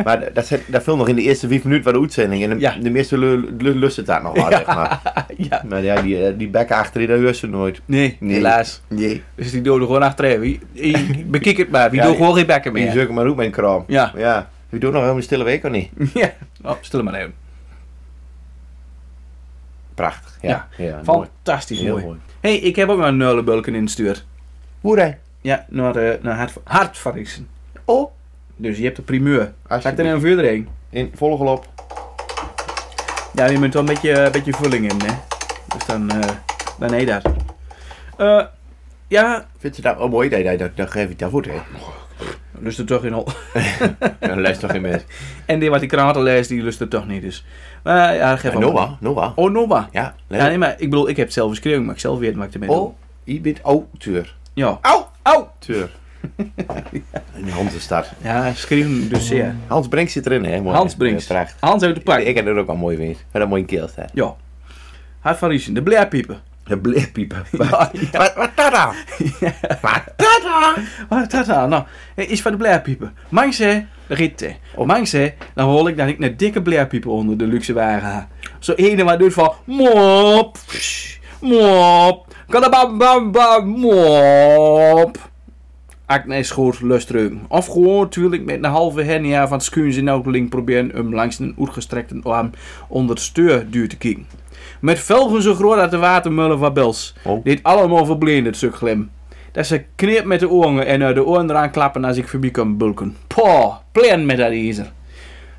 Speaker 3: maar dat- dat, zit- dat viel nog in de eerste vijf minuten van de uitzending. En de,
Speaker 4: Ja.
Speaker 3: de meeste lu- lu- lust het daar nog wel, zeg maar.
Speaker 4: Ja.
Speaker 3: Maar ja, die, eh, die bekken achterin, dat lust ze nooit.
Speaker 4: Nee,
Speaker 3: Nee.
Speaker 4: helaas.
Speaker 3: Nee.
Speaker 4: Dus die doden gewoon achterin. Wie, wie- bekijk het maar, wie
Speaker 3: Ja,
Speaker 4: doet
Speaker 3: die-
Speaker 4: gewoon geen bekken
Speaker 3: Die
Speaker 4: meer.
Speaker 3: zoeken maar ook mijn kraam.
Speaker 4: Ja.
Speaker 3: Ja. Wie doet nog helemaal een stille week of niet?
Speaker 4: Ja. Oh, stil maar even.
Speaker 3: Prachtig.
Speaker 4: Ja.
Speaker 3: Ja. ja. mooi.
Speaker 4: Fantastisch
Speaker 3: Heel
Speaker 4: mooi.
Speaker 3: mooi.
Speaker 4: hey, ik heb ook nog een nullenbulken ingestuurd.
Speaker 3: Hoerij.
Speaker 4: Ja, naar, eh naar Hart, Hart van Rixen. Oh. Dus je hebt de primeur. Ga ik er
Speaker 3: Alsjeblieft.
Speaker 4: een verder heen?
Speaker 3: In volle galop.
Speaker 4: Ja, je moet wel een beetje, een beetje vulling in, hè. Dus dan, eh dan heet dat. Eh, ja,
Speaker 3: Vindt ze dat wel mooi? Nee, nee, dat, dat geef ik daarvoor. Hè.
Speaker 4: lust er toch in op.
Speaker 3: Dan luistert toch geen mens.
Speaker 4: En die wat ik kraten leest, die lust er toch niet, dus. Maar ja, geef
Speaker 3: En
Speaker 4: wel.
Speaker 3: Noah, Noah.
Speaker 4: Oh, Noah. Ja,
Speaker 3: Ja, let
Speaker 4: nee,
Speaker 3: op.
Speaker 4: maar ik bedoel, ik heb het zelf geschreven, maar ik zelf weet maar ik ermee doe.
Speaker 3: Oh, je bent auteur.
Speaker 4: Ja.
Speaker 3: Au!
Speaker 4: Au!
Speaker 3: Teur. In Hansenstad.
Speaker 4: Ja, schreeuwen dus zeer.
Speaker 3: Hans Brink zit erin, hè? Mooi.
Speaker 4: Hans Brinks.
Speaker 3: Oh, Ja, Prachtig.
Speaker 4: Hans uit de pak.
Speaker 3: Ik heb er ook wel mooi weer. Met een mooie keel staat.
Speaker 4: Ja. Hart van Riesen, de bleerpiepen.
Speaker 3: De bleerpiepen.
Speaker 4: Ja, ja.
Speaker 3: Wat, wat dat dan?
Speaker 4: Wat dat nou? Nou, eh, iets van de bleerpiepen. Mangs hè, ritten. Op mangs hè, dan hoor ik dat ik een dikke bleerpiepen onder de luxe wagen ha. Zo ene wat doet van mop, pss, mop, kadabam bam bam, mop. Acne is goed, lustreum. Of gewoon, tuurlijk, met een halve hernia van het skuins in elke link proberen hem langs een uitgestrekte arm onder het stuur duur te kieken. Met velgen zo groot uit de watermullen van Bels.
Speaker 3: Oh.
Speaker 4: Dit allemaal verblind, het stuk glim. Dat ze knip met de oren en uit de oren eraan klappen als ik voorbij kan bulken. Poh, plan met dat ijzer.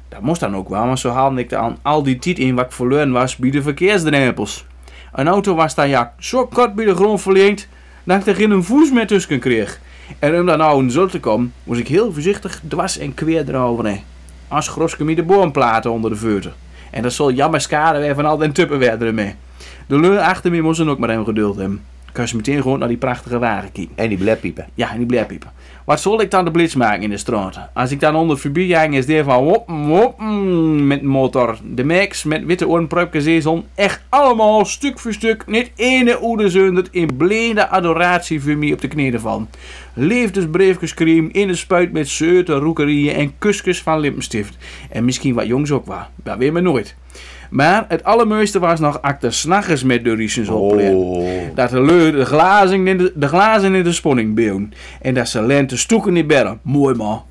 Speaker 4: Dat moest dan ook wel, want zo haalde ik dan al die tijd in wat ik verloren was bij de verkeersdrempels. Een auto was dan ja zo kort bij de grond verleend dat ik er geen voes meer tussen kreeg. En om dan nou in zo te komen, moest ik heel voorzichtig dwars en kweer eroverheen. Als groske met de boomplaten onder de veurten. En dat zal jammer schade weer van al den tuppen weer ermee. De leur achter me moesten ook maar hem geduld hebben. Ik kan ze meteen gewoon naar die prachtige wagen kijken.
Speaker 3: En die bleerpiepen.
Speaker 4: Ja, en die bleerpiepen. Wat zal ik dan de blitz maken in de straat? Als ik dan onder voorbij ging, is die van wop, wop, met de motor. De Max met witte orenpruipjes zeezon. Echt allemaal, stuk voor stuk, niet ene oeder zundert in blinde adoratie voor mij op de knieën van. Liefdesbriefjescream in de spuit met zeuten, roekerieën en kusjes van lippenstift. En misschien wat jongs ook wel. Dat weet men nooit. Maar het allermooiste was nog als de s'nachts met de Riesens
Speaker 3: Oh.
Speaker 4: Dat de leur de glazen in de, de, glazen in de spanning beelden. En dat ze lente stoeken in bergen. Mooi man.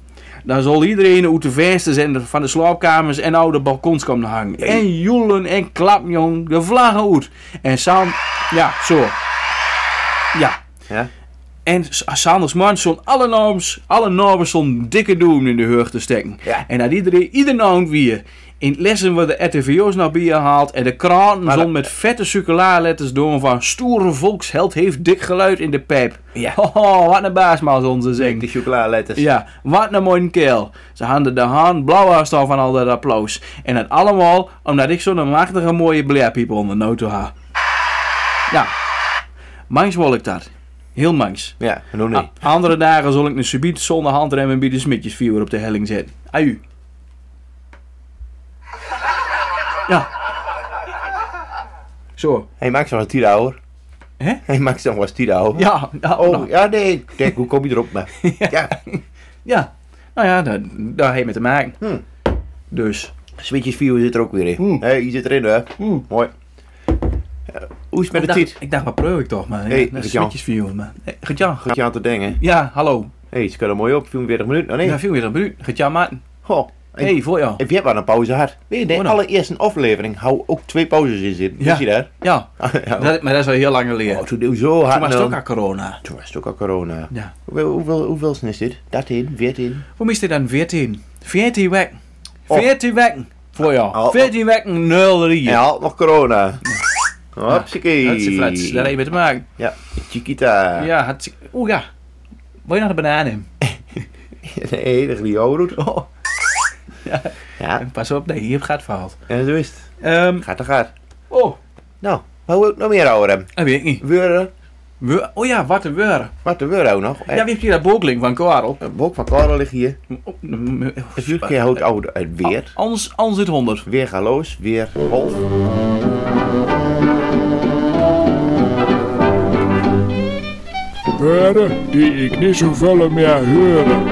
Speaker 4: Dan zal iedereen uit de vensters en de- van de slaapkamers en oude balkons komen hangen. En joelen en klappen, jong. De vlaggen uit. En Sam... Ja, zo. Ja.
Speaker 3: Ja?
Speaker 4: En S- Sanders man zon alle norms, alle normen zon dikke doen in de heug te steken.
Speaker 3: Ja.
Speaker 4: En dat iedereen, ieder nou naam weer. In het lessen worden de RTVO's naar bier gehaald en de kranten zon
Speaker 3: dat-
Speaker 4: met vette suculaarletters door van stoere volksheld heeft dik geluid in de pijp.
Speaker 3: Ja.
Speaker 4: Hoho, wat een baasmaal zon ze zingen.
Speaker 3: De chocoladeletters.
Speaker 4: Ja, wat een mooie kerel. Ze hadden de haan blauw staan van al dat applaus. En dat allemaal omdat ik zo'n machtige mooie bleerpiep onder de auto had. Ja, mangs wil ik dat. Heel mangs.
Speaker 3: Ja, nou nee.
Speaker 4: A- Ah, andere dagen zal ik een subiet zonder handrem en bij de smitjesviewer op de helling zetten. Aju. Ja. Zo.
Speaker 3: Hij maakt zo'n tira hoor.
Speaker 4: Hè?
Speaker 3: Hij maakt zo'n was tira hoor.
Speaker 4: Ja, ja,
Speaker 3: Oh,
Speaker 4: nou,
Speaker 3: ja nee. Kijk, hoe kom je erop maar. ja.
Speaker 4: ja. Nou ja, daar, daar heeft mee te maken.
Speaker 3: Hmm.
Speaker 4: Dus.
Speaker 3: Switches view zit er ook weer in. Hé, je zit erin hè. Mooi. Eh, hoe is het
Speaker 4: ik
Speaker 3: met de
Speaker 4: dacht,
Speaker 3: tiet?
Speaker 4: ik dacht, wat probeer ik toch, man?
Speaker 3: Hey,
Speaker 4: dat is
Speaker 3: Gert-Jan.
Speaker 4: netjes voor jou, man. Hey, Gert-Jan.
Speaker 3: Goed je aan te denken. Hé,
Speaker 4: Ja, hallo.
Speaker 3: hey, ze kunnen mooi op. 44 minuten. Nou nee.
Speaker 4: Ja, veel weer dan bruut. Gert-Jan, man.
Speaker 3: Goh. En-
Speaker 4: Hey, voor jou.
Speaker 3: Heb jij maar een pauze gehad? Nee, nee.
Speaker 4: Oh, nou.
Speaker 3: allereerst een aflevering. Hou ook twee pauzes in zitten.
Speaker 4: Ja.
Speaker 3: Is je daar?
Speaker 4: Ja,
Speaker 3: ja.
Speaker 4: dat, maar dat is al heel lang geleden.
Speaker 3: Ah, Oh, toen deed zo hard.
Speaker 4: Toen was het
Speaker 3: dan.
Speaker 4: ook aan corona.
Speaker 3: Toen was het ook al corona.
Speaker 4: Ja.
Speaker 3: Hoeveel, hoeveel, hoeveel is dit? Dat in, weer in.
Speaker 4: Hoe is dit dan 14? 14 weken.
Speaker 3: Oh.
Speaker 4: 14 weken. Voor jou.
Speaker 3: Oh, oh.
Speaker 4: 14 weken 03.
Speaker 3: Ja, had nog corona. Hopsakee.
Speaker 4: Dat is de flats. Daar heb je mee te maken.
Speaker 3: Ja, Chiquita.
Speaker 4: Ja, had... Oeh, ja. Wil je nog een banaan in?
Speaker 3: Nee, dat is die oude
Speaker 4: Oh,
Speaker 3: Ja,
Speaker 4: pas op dat je hier op gaat verhaald.
Speaker 3: en zo is het.
Speaker 4: Ehm
Speaker 3: Gaat er gaat.
Speaker 4: oh,
Speaker 3: Nou, wat wil ik nog meer houden? hem?
Speaker 4: dat weet ik niet.
Speaker 3: Weuren.
Speaker 4: We, oh ja, wat een weur.
Speaker 3: Wat de weuren ook nog?
Speaker 4: Ja, wie heeft hier dat boekling van Karel?
Speaker 3: Een boek van Karel ligt hier.
Speaker 4: Oh, m- m-
Speaker 3: Dus jullie keer
Speaker 4: eh,
Speaker 3: houdt oude uit weer.
Speaker 4: Anders, anders het 100.
Speaker 3: Weer galoos, weer golf.
Speaker 7: Beuren die ik niet zoveel meer horen.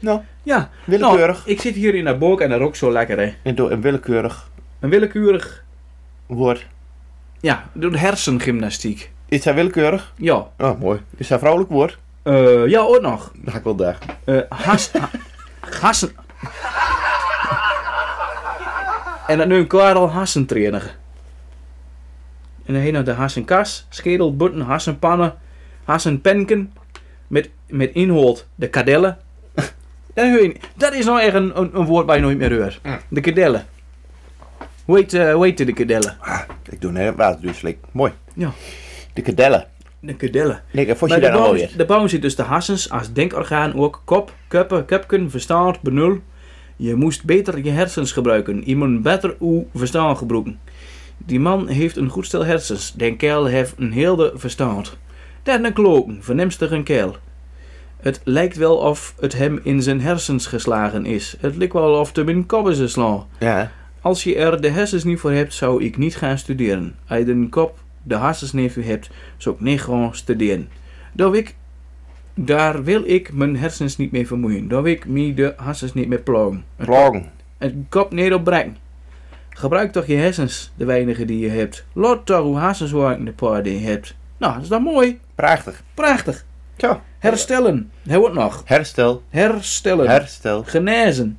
Speaker 3: Nou,
Speaker 4: Ja,
Speaker 3: Willekeurig.
Speaker 4: Nou, ik zit hier in dat boek en dat ook zo lekker, hè.
Speaker 3: en door een willekeurig
Speaker 4: Een willekeurig...
Speaker 3: woord.
Speaker 4: Ja, door de hersengymnastiek.
Speaker 3: Is hij willekeurig?
Speaker 4: Ja.
Speaker 3: Oh, mooi. Is hij vrouwelijk woord?
Speaker 4: Eh, ja, ook nog.
Speaker 3: Dan ga ik wel daar.
Speaker 4: Eh has... ha- hassen... en dan nu een Karel hassentrainer. En dan heen naar de hassenkas, schedel, butten, hassenpannen, hassenpenken. Met, met inhoud de kadellen. Dat, hoor je niet. dat is nou echt een, een, een woord waar je nooit meer hoort. De kadellen. Hoe heet, eh, hoe heet de kadellen?
Speaker 3: Ik doe net een waterduurslik. Mooi.
Speaker 4: Ja.
Speaker 3: De kadellen.
Speaker 4: De kadellen.
Speaker 3: Nee, dat vond je
Speaker 4: Maar
Speaker 3: daar
Speaker 4: de,
Speaker 3: nou
Speaker 4: boom,
Speaker 3: weer.
Speaker 4: de boom zit dus de hassens als denkorgaan ook kop, kuppen, kupken, verstand, benul. Je moest beter je hersens gebruiken. Je moet beter uw verstand gebruiken. Die man heeft een goed stel hersens. Den kerel heeft een heel de verstand. Dat een kloken, vernemstig een kerel. Het lijkt wel of het hem in zijn hersens geslagen is. Het lijkt wel of het hem in koppen ze slaan.
Speaker 3: Ja.
Speaker 4: Als je er de hersens niet voor hebt, zou ik niet gaan studeren. Als je de kop, de hersens niet voor hebt, zou ik niet gewoon studeren. Daar wil ik, daar wil ik mijn hersens niet mee vermoeien. Daar wil ik me de hersens niet mee plagen. Het
Speaker 3: Plagen.
Speaker 4: een kop neer op brengen. Gebruik toch je hersens, de weinige die je hebt. Laat toch uw hersens werken, de paar die je hebt. Nou, is dat mooi?
Speaker 3: Prachtig.
Speaker 4: Prachtig.
Speaker 3: Zo.
Speaker 4: Herstellen. Heel wat nog.
Speaker 3: Herstel.
Speaker 4: Herstellen.
Speaker 3: Herstel.
Speaker 4: Genezen.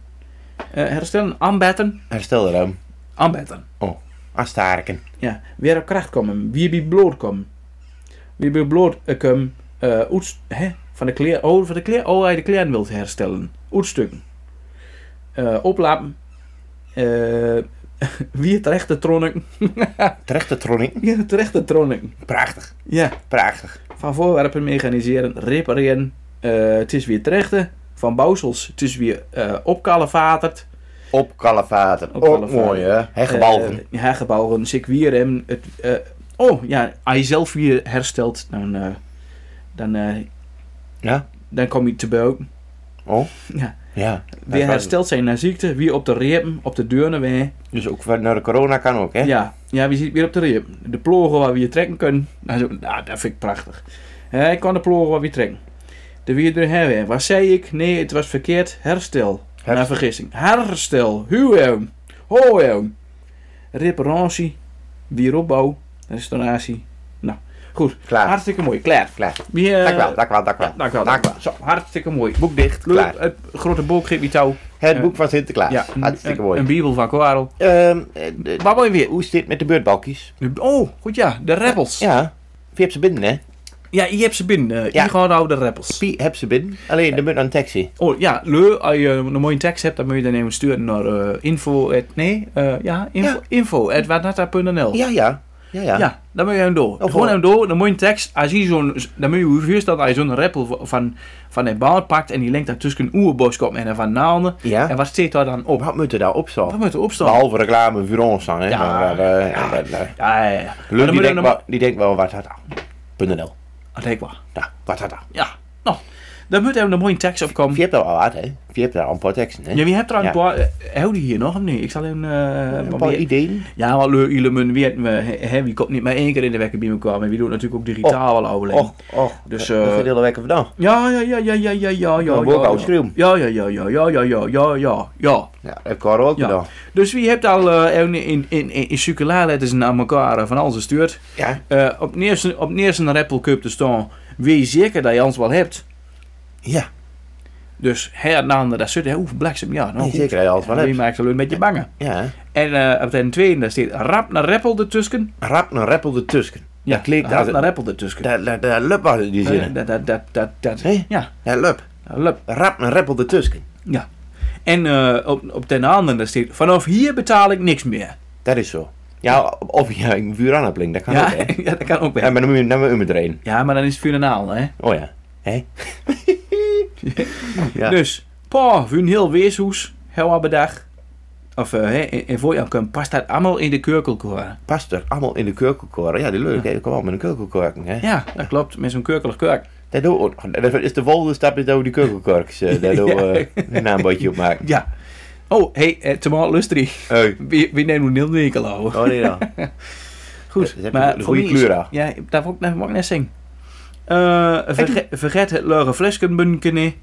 Speaker 4: Eh, herstellen. Aanbetten.
Speaker 3: Herstelruim.
Speaker 4: Aanbetten.
Speaker 3: Astarken.
Speaker 4: Ja, weer op kracht komen. Wie bij bloot komen. Wie bij bloot eh, komen. eh, oets- hè? Van de kleer. Oh, van de kleer. Oh, hij de kleren wilt herstellen. Oetstukken. Eh oplapen. Eh, wie terechte troniken.
Speaker 3: Terechte tronning.
Speaker 4: Wie terechte troniken.
Speaker 3: Prachtig.
Speaker 4: Ja.
Speaker 3: Prachtig.
Speaker 4: Van voorwerpen mechaniseren. Repareren. Eh, Het is weer terechte. Van bouwsels. Het is weer eh opkalevaterd.
Speaker 3: Op kalevaten.
Speaker 4: Op
Speaker 3: Ook
Speaker 4: kalevaten.
Speaker 3: mooi hè. Heggebalgen.
Speaker 4: Eh, ja, gebouwen. Circuitrem. Het, eh, oh, ja. Als je zelf weer herstelt, dan... eh, dan eh,
Speaker 3: ja.
Speaker 4: dan kom je te buiten.
Speaker 3: Oh.
Speaker 4: Ja.
Speaker 3: Ja.
Speaker 4: Weer hersteld zijn na ziekte, wie op de repen, op de deuren weer.
Speaker 3: Dus ook naar de corona kan ook hè.
Speaker 4: Ja, ja, wie zit weer op de repen. De plogen waar we je trekken kunnen. Nou, zo- nou, dat vind ik prachtig. Hè, ik kan de plogen waar we je trekken. De weer er hebben. Wat zei ik? Nee, het was verkeerd. Herstel. Naar vergissing. Herstel, huwem, hoem, reparatie, wieropbouw, restauratie. Nou, goed.
Speaker 3: Klaar.
Speaker 4: Hartstikke mooi. Klaar.
Speaker 3: Klaar.
Speaker 4: Wie, eh,
Speaker 3: Dank wel, dank wel, dank wel.
Speaker 4: Dank wel.
Speaker 3: Dank wel.
Speaker 4: Zo, hartstikke mooi.
Speaker 3: Boek dicht,
Speaker 4: Leuk,
Speaker 3: klaar.
Speaker 4: Het grote boek geeft die touw.
Speaker 3: Het
Speaker 4: eh,
Speaker 3: boek van Sinterklaas.
Speaker 4: Ja, een-
Speaker 3: Hartstikke
Speaker 4: een-
Speaker 3: mooi.
Speaker 4: Een bibel van Quarel.
Speaker 3: Ehm, eh, de-
Speaker 4: Waar mooi weer?
Speaker 3: hoe is dit met de beurtbalkjes?
Speaker 4: Oh, goed ja. De Rebels. Ja,
Speaker 3: Ja, wie hebt ze binnen, hè?
Speaker 4: je hebt ze binnen. eh,
Speaker 3: Ja.
Speaker 4: Je gaat nou de Rebels.
Speaker 3: Wie hebt ze binnen? Alleen de munt aan een taxi.
Speaker 4: Oh ja, leu, als je een mooie tekst hebt, dan moet je dan even sturen naar eh, info. at- nee, eh, ja, info.
Speaker 3: Ja.
Speaker 4: info at watnatta.nl.
Speaker 3: Ja, ja. Ja, ja.
Speaker 4: Ja, dan moet je hem door. Gewoon
Speaker 3: wel.
Speaker 4: hem door, dan moet je een tekst. Als je zo'n, dan moet je je voorstellen dat je zo'n rappel van, van een baard pakt en die lengt daar tussen een oerbos komt en een van naalden.
Speaker 3: Ja.
Speaker 4: En wat steekt daar dan op?
Speaker 3: Oh, Wat moet er daar op
Speaker 4: Wat
Speaker 3: staan?
Speaker 4: moet er opstaan?
Speaker 3: Behalve reclame voor ons dan, hè?
Speaker 4: Ja,
Speaker 3: Maar, eh, eh, eh, eh.
Speaker 4: Ja, ja, ja. Maar
Speaker 3: Leuk, die,
Speaker 4: dan moet je
Speaker 3: denkt
Speaker 4: dan-
Speaker 3: wel, die denkt wel, wat had .nl.
Speaker 4: Ah, denk wel.
Speaker 3: Ja, wat had dat?
Speaker 4: Ja, nou. Dan moet er een mooie tekst op komen.
Speaker 3: Je hebt daar al wat, hè? Je hebt daar al een paar teksten, hè?
Speaker 4: Ja, wie hebt er aan
Speaker 3: Ja.
Speaker 4: een paar... eh, Hou die hier nog of niet? Ik zal even... eh
Speaker 3: een paar
Speaker 4: proberen.
Speaker 3: ideeën.
Speaker 4: Ja, maar leuk, jullie moeten weten, we, hè, hè, wie komt niet maar één keer in de wekker bij elkaar. Maar wie doet natuurlijk ook digitaal wel overleggen.
Speaker 3: Oh. Och, och.
Speaker 4: Dus,
Speaker 3: Dus, uh,
Speaker 4: eh,
Speaker 3: dat gaat de hele week vandaan.
Speaker 4: Ja, ja, ja, ja, ja, ja, ja, ja.
Speaker 3: Dan word ik
Speaker 4: ja,
Speaker 3: oud
Speaker 4: ja.
Speaker 3: schreeuwen.
Speaker 4: Ja, ja, ja, ja, ja, ja, ja, ja, ja, ja.
Speaker 3: Ja, dat heb ik haar ook
Speaker 4: Ja.
Speaker 3: gedaan.
Speaker 4: Dus wie hebt al eh, in, in, in, in circulaarletters naar elkaar eh, van alles gestuurd?
Speaker 3: Ja.
Speaker 4: Eh, op neerste op neerste Rappel Cup te staan, wees zeker dat je ons wel hebt.
Speaker 3: Ja.
Speaker 4: Dus her en ander, daar zit hij, oeh, bliksem, ja. Nou,
Speaker 3: Nee,
Speaker 4: goed.
Speaker 3: zeker dat je alles wel
Speaker 4: Wie
Speaker 3: hebt.
Speaker 4: maakt ze een beetje bangen.
Speaker 3: Ja.
Speaker 4: En eh, op de tweede, daar staat Rap naar Rappel ertussen.
Speaker 3: Rap een rappel ertussen. dat klinkt
Speaker 4: Rap
Speaker 3: als...
Speaker 4: naar
Speaker 3: Dat,
Speaker 4: Rappel ertussen.
Speaker 3: dat, dat, dat lup was in die
Speaker 4: Eh,
Speaker 3: zin.
Speaker 4: Dat, dat, dat, dat, dat.
Speaker 3: Hé?
Speaker 4: Ja,
Speaker 3: Dat lup.
Speaker 4: lup.
Speaker 3: Rap een rappel ertussen.
Speaker 4: Ja. En eh, op, op ten andere staat, vanaf hier betaal ik niks meer.
Speaker 3: Dat is zo. Ja, of ja, een vuur aan hebt liggen, dat kan
Speaker 4: ja,
Speaker 3: ook, hè?
Speaker 4: ja, dat kan ook
Speaker 3: Ah, Ja,
Speaker 4: wel.
Speaker 3: maar dan moet je dan moet je hem erin.
Speaker 4: Ja, maar dan is het funeral, hè.
Speaker 3: Oh ja. Hé? Ja.
Speaker 4: Dus, pa, voor een heel weeshoes, heel wat bedag. Of, eh, hè, en, en voor jou kan past dat allemaal in de kurkelkoren.
Speaker 3: Past er allemaal in de kurkelkoren. Ja, die leuk, hè? Ik kom wel met een kurkelkorken, hè?
Speaker 4: Ja, dat klopt, met zo'n kurkelig kurk.
Speaker 3: Dat, doen we ook. dat is de volgende stap, is dat we die kurkelkorks, eh, daar doen we eh, een naambordje op maken.
Speaker 4: Ja. Oh, hé, hey, tomaat lustrie.
Speaker 3: Hey.
Speaker 4: Wie, wie neemt nu Neil Nicolau?
Speaker 3: Oh nee dan. dat
Speaker 4: Goed,
Speaker 3: Eh, heb je
Speaker 4: maar
Speaker 3: een
Speaker 4: voor
Speaker 3: goede
Speaker 4: mij is-
Speaker 3: kleur aan.
Speaker 4: Ja, daar wil ik net- mag ik net zingen. Eh, verge- vergeet het leuke fleskenbunken niet.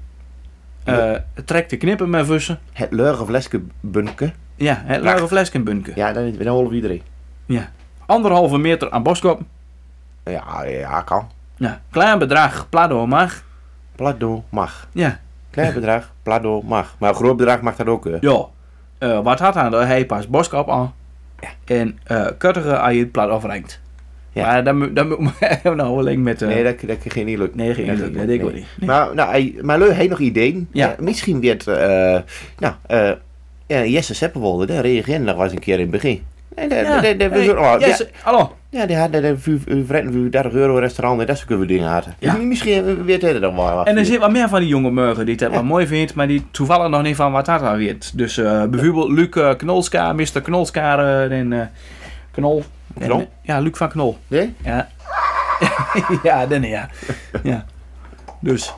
Speaker 4: Eh, trek de knippen met vussen.
Speaker 3: Het leugen flesje bunken.
Speaker 4: Ja, het leuke fleskenbunken.
Speaker 3: Ja, dan, dan horen we iedereen.
Speaker 4: Ja. Anderhalve meter aan boskop.
Speaker 3: Ja, ja, kan.
Speaker 4: Ja. Klein bedrag, plado mag.
Speaker 3: Plado mag.
Speaker 4: Ja.
Speaker 3: Klein bedrag, plado mag. Maar een groot bedrag mag dat ook. hè.
Speaker 4: Ja. Eh, wat had hij dan? Hij past boskop aan. En eh kuttige als je het plat afrengt.
Speaker 3: Ja.
Speaker 4: Ja. Maar dan moet- dan moet ik nou wel link met... eh,
Speaker 3: Nee, dat, dat kan geen niet lukken.
Speaker 4: Nee, geen idee. Dat denk ik ook niet.
Speaker 3: Maar, nou, hij- maar Leu heeft nog ideeën.
Speaker 4: Ja.
Speaker 3: Eh, misschien werd, eh nou, eh, ja, Jesse Seppelwolde, daar reageerde nog wel eens een keer in het begin. Nee, dat,
Speaker 4: Ja.
Speaker 3: dat, dat, dat-
Speaker 4: Hey,
Speaker 3: oh,
Speaker 4: yes,
Speaker 3: ja,
Speaker 4: Hallo.
Speaker 3: ja, die hadden dat vuur- eh, vrienden voor 30 euro restaurant en dat soort we dingen hadden.
Speaker 4: Ja.
Speaker 3: Misschien werd hij er dan wel wat
Speaker 4: En er
Speaker 3: van.
Speaker 4: zit wat meer van die jonge murgen die het wel mooi vindt, maar die toevallig nog niet van wat dat dan weet. Dus eh, bijvoorbeeld Luc eh, Knolska, Mr. Knolska eh, en eh, Knol. En,
Speaker 3: Knol?
Speaker 4: eh, ja, Luc van Knol.
Speaker 3: Nee?
Speaker 4: Ja, ja dan ja. ja. Dus.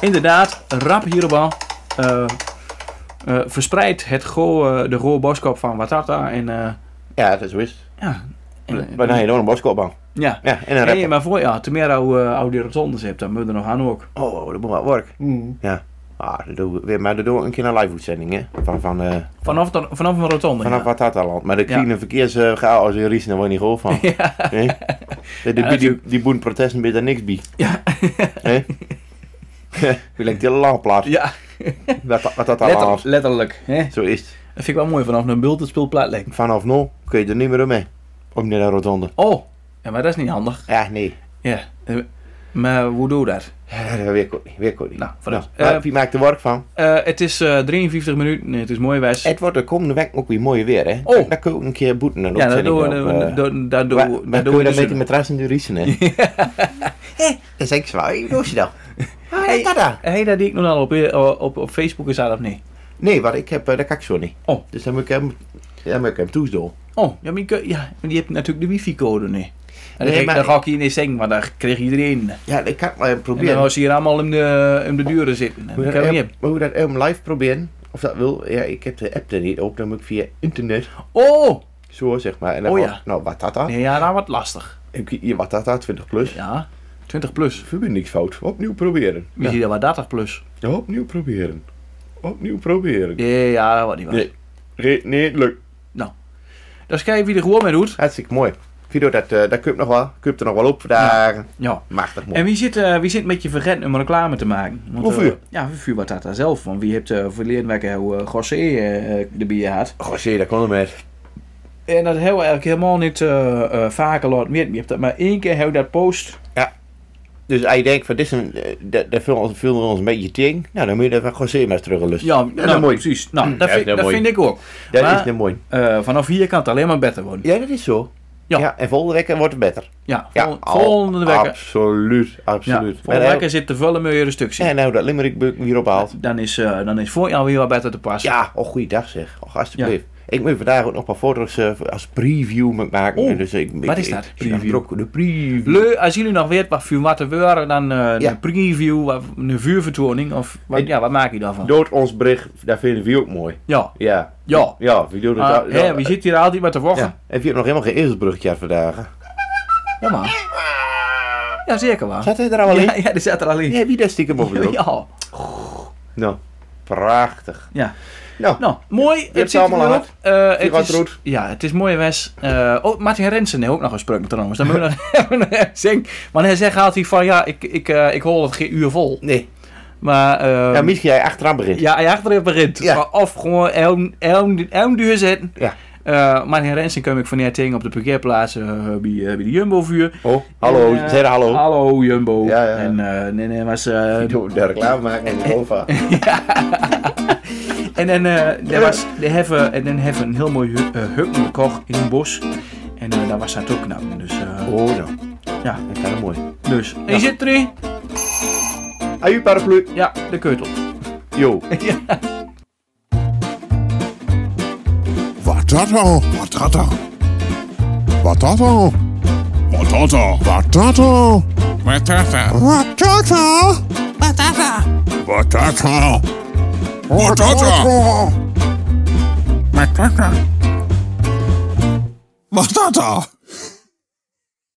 Speaker 4: Inderdaad, rap hierbij. Eh eh verspreid het go, eh, de rode boskop van Watata. En, eh,
Speaker 3: Ja, dat zo is het.
Speaker 4: ja. En, eh,
Speaker 3: Maar dan heb je nog een boskopbaan.
Speaker 4: ja.
Speaker 3: Ja, en een
Speaker 4: Nee,
Speaker 3: rapper.
Speaker 4: maar voor ja, eh, te meer oude, oude rotondes hebt, dan moet er nog aan ook.
Speaker 3: Oh, dat moet wel werk.
Speaker 4: Mm.
Speaker 3: Ja. Ah, dat doen we weer. Maar dat doen we een keer een live uitzending, hè? Van, van, eh,
Speaker 4: Vanaf, de- vanaf een rotonde.
Speaker 3: vanaf
Speaker 4: ja.
Speaker 3: wat dat al land. Maar de
Speaker 4: Ja.
Speaker 3: kleine verkeerschaos in Ries, daar word je niet gehoord van.
Speaker 4: Ja.
Speaker 3: Hè? Die, die, die, die,
Speaker 4: natuurlijk.
Speaker 3: boeren protesten bij daar niks bij.
Speaker 4: Ja.
Speaker 3: Hè? Wie lijkt die lang plaats?
Speaker 4: Ja,
Speaker 3: Wat, dat- wat dat al
Speaker 4: letter-
Speaker 3: land.
Speaker 4: letterlijk. Hè? Dat
Speaker 3: Zo is het.
Speaker 4: vind ik wel mooi, vanaf een bult het speelplaat lijkt.
Speaker 3: Vanaf nu kun je er niet meer mee. Ook naar de rotonde.
Speaker 4: Oh, ja, maar dat is niet handig.
Speaker 3: Ja, nee.
Speaker 4: Ja. eh, Maar hoe doe je dat?
Speaker 3: Ja, dat weet ik ook niet. Weet ik ook niet.
Speaker 4: Nou, vooruit.
Speaker 3: maar
Speaker 4: Eh,
Speaker 3: wie maakt er werk van?
Speaker 4: Eh, het is eh 53 minuten, Nee, het is mooi wijs.
Speaker 3: Het wordt de komende week ook weer mooi weer, hè?
Speaker 4: Oh.
Speaker 3: Dan kun je ook een keer boeten. en
Speaker 4: ja, dat
Speaker 3: opzending
Speaker 4: doen we,
Speaker 3: erop, eh.
Speaker 4: eh, do- dat doen
Speaker 3: Maar,
Speaker 4: we-
Speaker 3: maar kun
Speaker 4: dat doen
Speaker 3: je dan
Speaker 4: we
Speaker 3: met
Speaker 4: dus.
Speaker 3: die matras in de riesen, hè? Hé, dat Eh, is echt zwaar. Hoe doe je dat? Ah,
Speaker 4: Hey.
Speaker 3: dat dan?
Speaker 4: Hey, dat die ik nog al op, eh, op, op Facebook is dat of niet?
Speaker 3: Nee, wat ik heb, eh, dat kan ik zo niet.
Speaker 4: Oh.
Speaker 3: Dus dan moet ik hem, dan moet ik hem toesdoen.
Speaker 4: Oh, ja, maar je, kunt- ja, maar die hebt natuurlijk de wifi-code niet. En
Speaker 3: Nee, maar-
Speaker 4: dan, maar... dan ga ik hier niet zeggen, maar daar kreeg iedereen.
Speaker 3: Ja, ik kan het maar
Speaker 4: En
Speaker 3: proberen. Eh,
Speaker 4: dan was ze hier allemaal in de, in de duren zitten. En
Speaker 3: Hoe
Speaker 4: Dat
Speaker 3: dat
Speaker 4: kan niet
Speaker 3: hem- maar hoe dat hem live proberen, of dat wil, ja, ik heb de app er niet op, dan moet ik via internet,
Speaker 4: hebben. Oh!
Speaker 3: zo zeg maar. En dan
Speaker 4: Oh,
Speaker 3: gewoon,
Speaker 4: ja.
Speaker 3: Nou, wat dat dan?
Speaker 4: Nee, ja, dat wordt lastig.
Speaker 3: Heb je hier wat dat dan, 20 plus?
Speaker 4: Ja, 20 plus.
Speaker 3: Verbindingsfout, opnieuw proberen.
Speaker 4: Misschien dat wel 30 plus.
Speaker 3: Opnieuw proberen. Opnieuw proberen.
Speaker 4: Nee, ja, dat wordt niet waar.
Speaker 3: Nee. Re- nee, lukt.
Speaker 4: Dat is kijken wie er gewoon mee doet.
Speaker 3: Hartstikke mooi. Video, dat, eh dat kunt nog wel. Kunt er nog wel op vandaag.
Speaker 4: Ja.
Speaker 3: Machtig mooi.
Speaker 4: En wie zit, eh, wie zit met je vergeten om reclame te maken? Want,
Speaker 3: Of
Speaker 4: eh,
Speaker 3: u?
Speaker 4: ja, vuur wat dat daar zelf. Want wie heeft eh verleden week hoe eh, Gossé eh, eh, de bier had.
Speaker 3: Goh, zie je, daar kon hem met.
Speaker 4: En dat hebben we eigenlijk helemaal niet eh, eh, vaker laten weten. Je hebt dat maar één keer, hou dat post.
Speaker 3: Dus als je denkt, van, dit is een, eh, dat, dat viel ons, viel ons een beetje ting. Nou, dan moet je dat van José maar teruglusten.
Speaker 4: Ja, nou,
Speaker 3: dat mooi.
Speaker 4: precies. Nou, dat,
Speaker 3: Ja,
Speaker 4: vind,
Speaker 3: dat
Speaker 4: dat
Speaker 3: mooi.
Speaker 4: vind ik ook.
Speaker 3: dat
Speaker 4: maar-
Speaker 3: is nou mooi.
Speaker 4: Eh, vanaf hier kan het alleen maar beter worden.
Speaker 3: Ja, dat is zo.
Speaker 4: Ja.
Speaker 3: en volgende week wordt het beter.
Speaker 4: Ja,
Speaker 3: Ja,
Speaker 4: vol-
Speaker 3: al-
Speaker 4: volgende week.
Speaker 3: Absoluut,
Speaker 4: Ja,
Speaker 3: absoluut.
Speaker 4: volgende week zit de volle meer restrictie.
Speaker 3: En nou, dat Limerick weer ophaalt.
Speaker 4: Dan is, eh dan is voor jou weer wat beter te passen.
Speaker 3: Ja, oh, goeiedag zeg. Och, alsjeblieft. Ik moet vandaag ook nog een paar foto's eh, als preview maken.
Speaker 4: Oh,
Speaker 3: dus ik, ik-
Speaker 4: wat is
Speaker 3: ik-
Speaker 4: dat,
Speaker 3: ik-
Speaker 4: preview?
Speaker 3: ook De preview.
Speaker 4: Leu, als jullie nog weten wat vuur wat te worden, dan eh,
Speaker 3: Ja.
Speaker 4: een preview, wat- een vuurvertoning. Of wat,
Speaker 3: En-
Speaker 4: ja, wat maak je daarvan?
Speaker 3: Dood ons bericht, daar vinden we ook mooi.
Speaker 4: Ja.
Speaker 3: Ja.
Speaker 4: Ja.
Speaker 3: Ja, wie doet het
Speaker 4: Ah,
Speaker 3: wel-
Speaker 4: hè,
Speaker 3: wel-
Speaker 4: wie zit hier altijd met de wachten?
Speaker 3: Ja. En wie hebt nog helemaal geen ezelsbruggetje aan vandaag?
Speaker 4: Ja, maar. Ja, zeker waar.
Speaker 3: Zat hij er al alleen?
Speaker 4: Ja, ja, die zat er al in.
Speaker 3: Nee, wie daar stiekem op bedoelt?
Speaker 4: Ja.
Speaker 3: Nou, prachtig.
Speaker 4: Ja.
Speaker 3: Nou,
Speaker 4: Nou, mooi.
Speaker 3: hebt ze
Speaker 4: zit
Speaker 3: allemaal
Speaker 4: er
Speaker 3: al
Speaker 4: weer op. Eh,
Speaker 3: Gerard
Speaker 4: het is,
Speaker 3: Roet.
Speaker 4: ja, het is mooi wes. Eh, oh, Martin Rensen heeft ook nog gesproken trouwens. Dan moet ik nog even zeggen. Want hij zegt altijd van ja, ik, ik, eh, ik hol het geen uur vol.
Speaker 3: nee.
Speaker 4: Maar ehm,
Speaker 3: Ja, misschien jij achteraan begint.
Speaker 4: ja, hij achterin begint.
Speaker 3: Ja.
Speaker 4: Maar Of gewoon elm- elm- elmduur zetten.
Speaker 3: Ja.
Speaker 4: Eh, Martin Rensen kwam ik van neer tegen op de parkeerplaats eh, bij, eh, bij de Jumbo-vuur.
Speaker 3: Oh, hallo.
Speaker 4: Ja.
Speaker 3: Zeg hallo.
Speaker 4: Hallo Jumbo.
Speaker 3: Oh. Ja, ja.
Speaker 4: En eh, nee, nee, was, eh,
Speaker 3: Doe de reclame maken en Nova.
Speaker 4: En dan, eh daar was, daar hebben, en dan hebben we een heel mooi hu- eh, hut gekocht in een bos. En eh, daar was dat ook knap. Dus, eh,
Speaker 3: Oh, nou.
Speaker 4: Ja.
Speaker 3: Dat kan mooi.
Speaker 4: dus. En je zit erin?
Speaker 3: Aju paraplu.
Speaker 4: Ja, de keutel.
Speaker 3: Yo.
Speaker 1: Wat dat al?
Speaker 2: Wat dat al?
Speaker 1: Wat dat al?
Speaker 8: Wat dat al?
Speaker 1: Wat dat al?
Speaker 2: Wat dat al?
Speaker 1: Wat dat al?
Speaker 8: Wat dat al?
Speaker 1: Wat dat al?
Speaker 2: Wat dat al?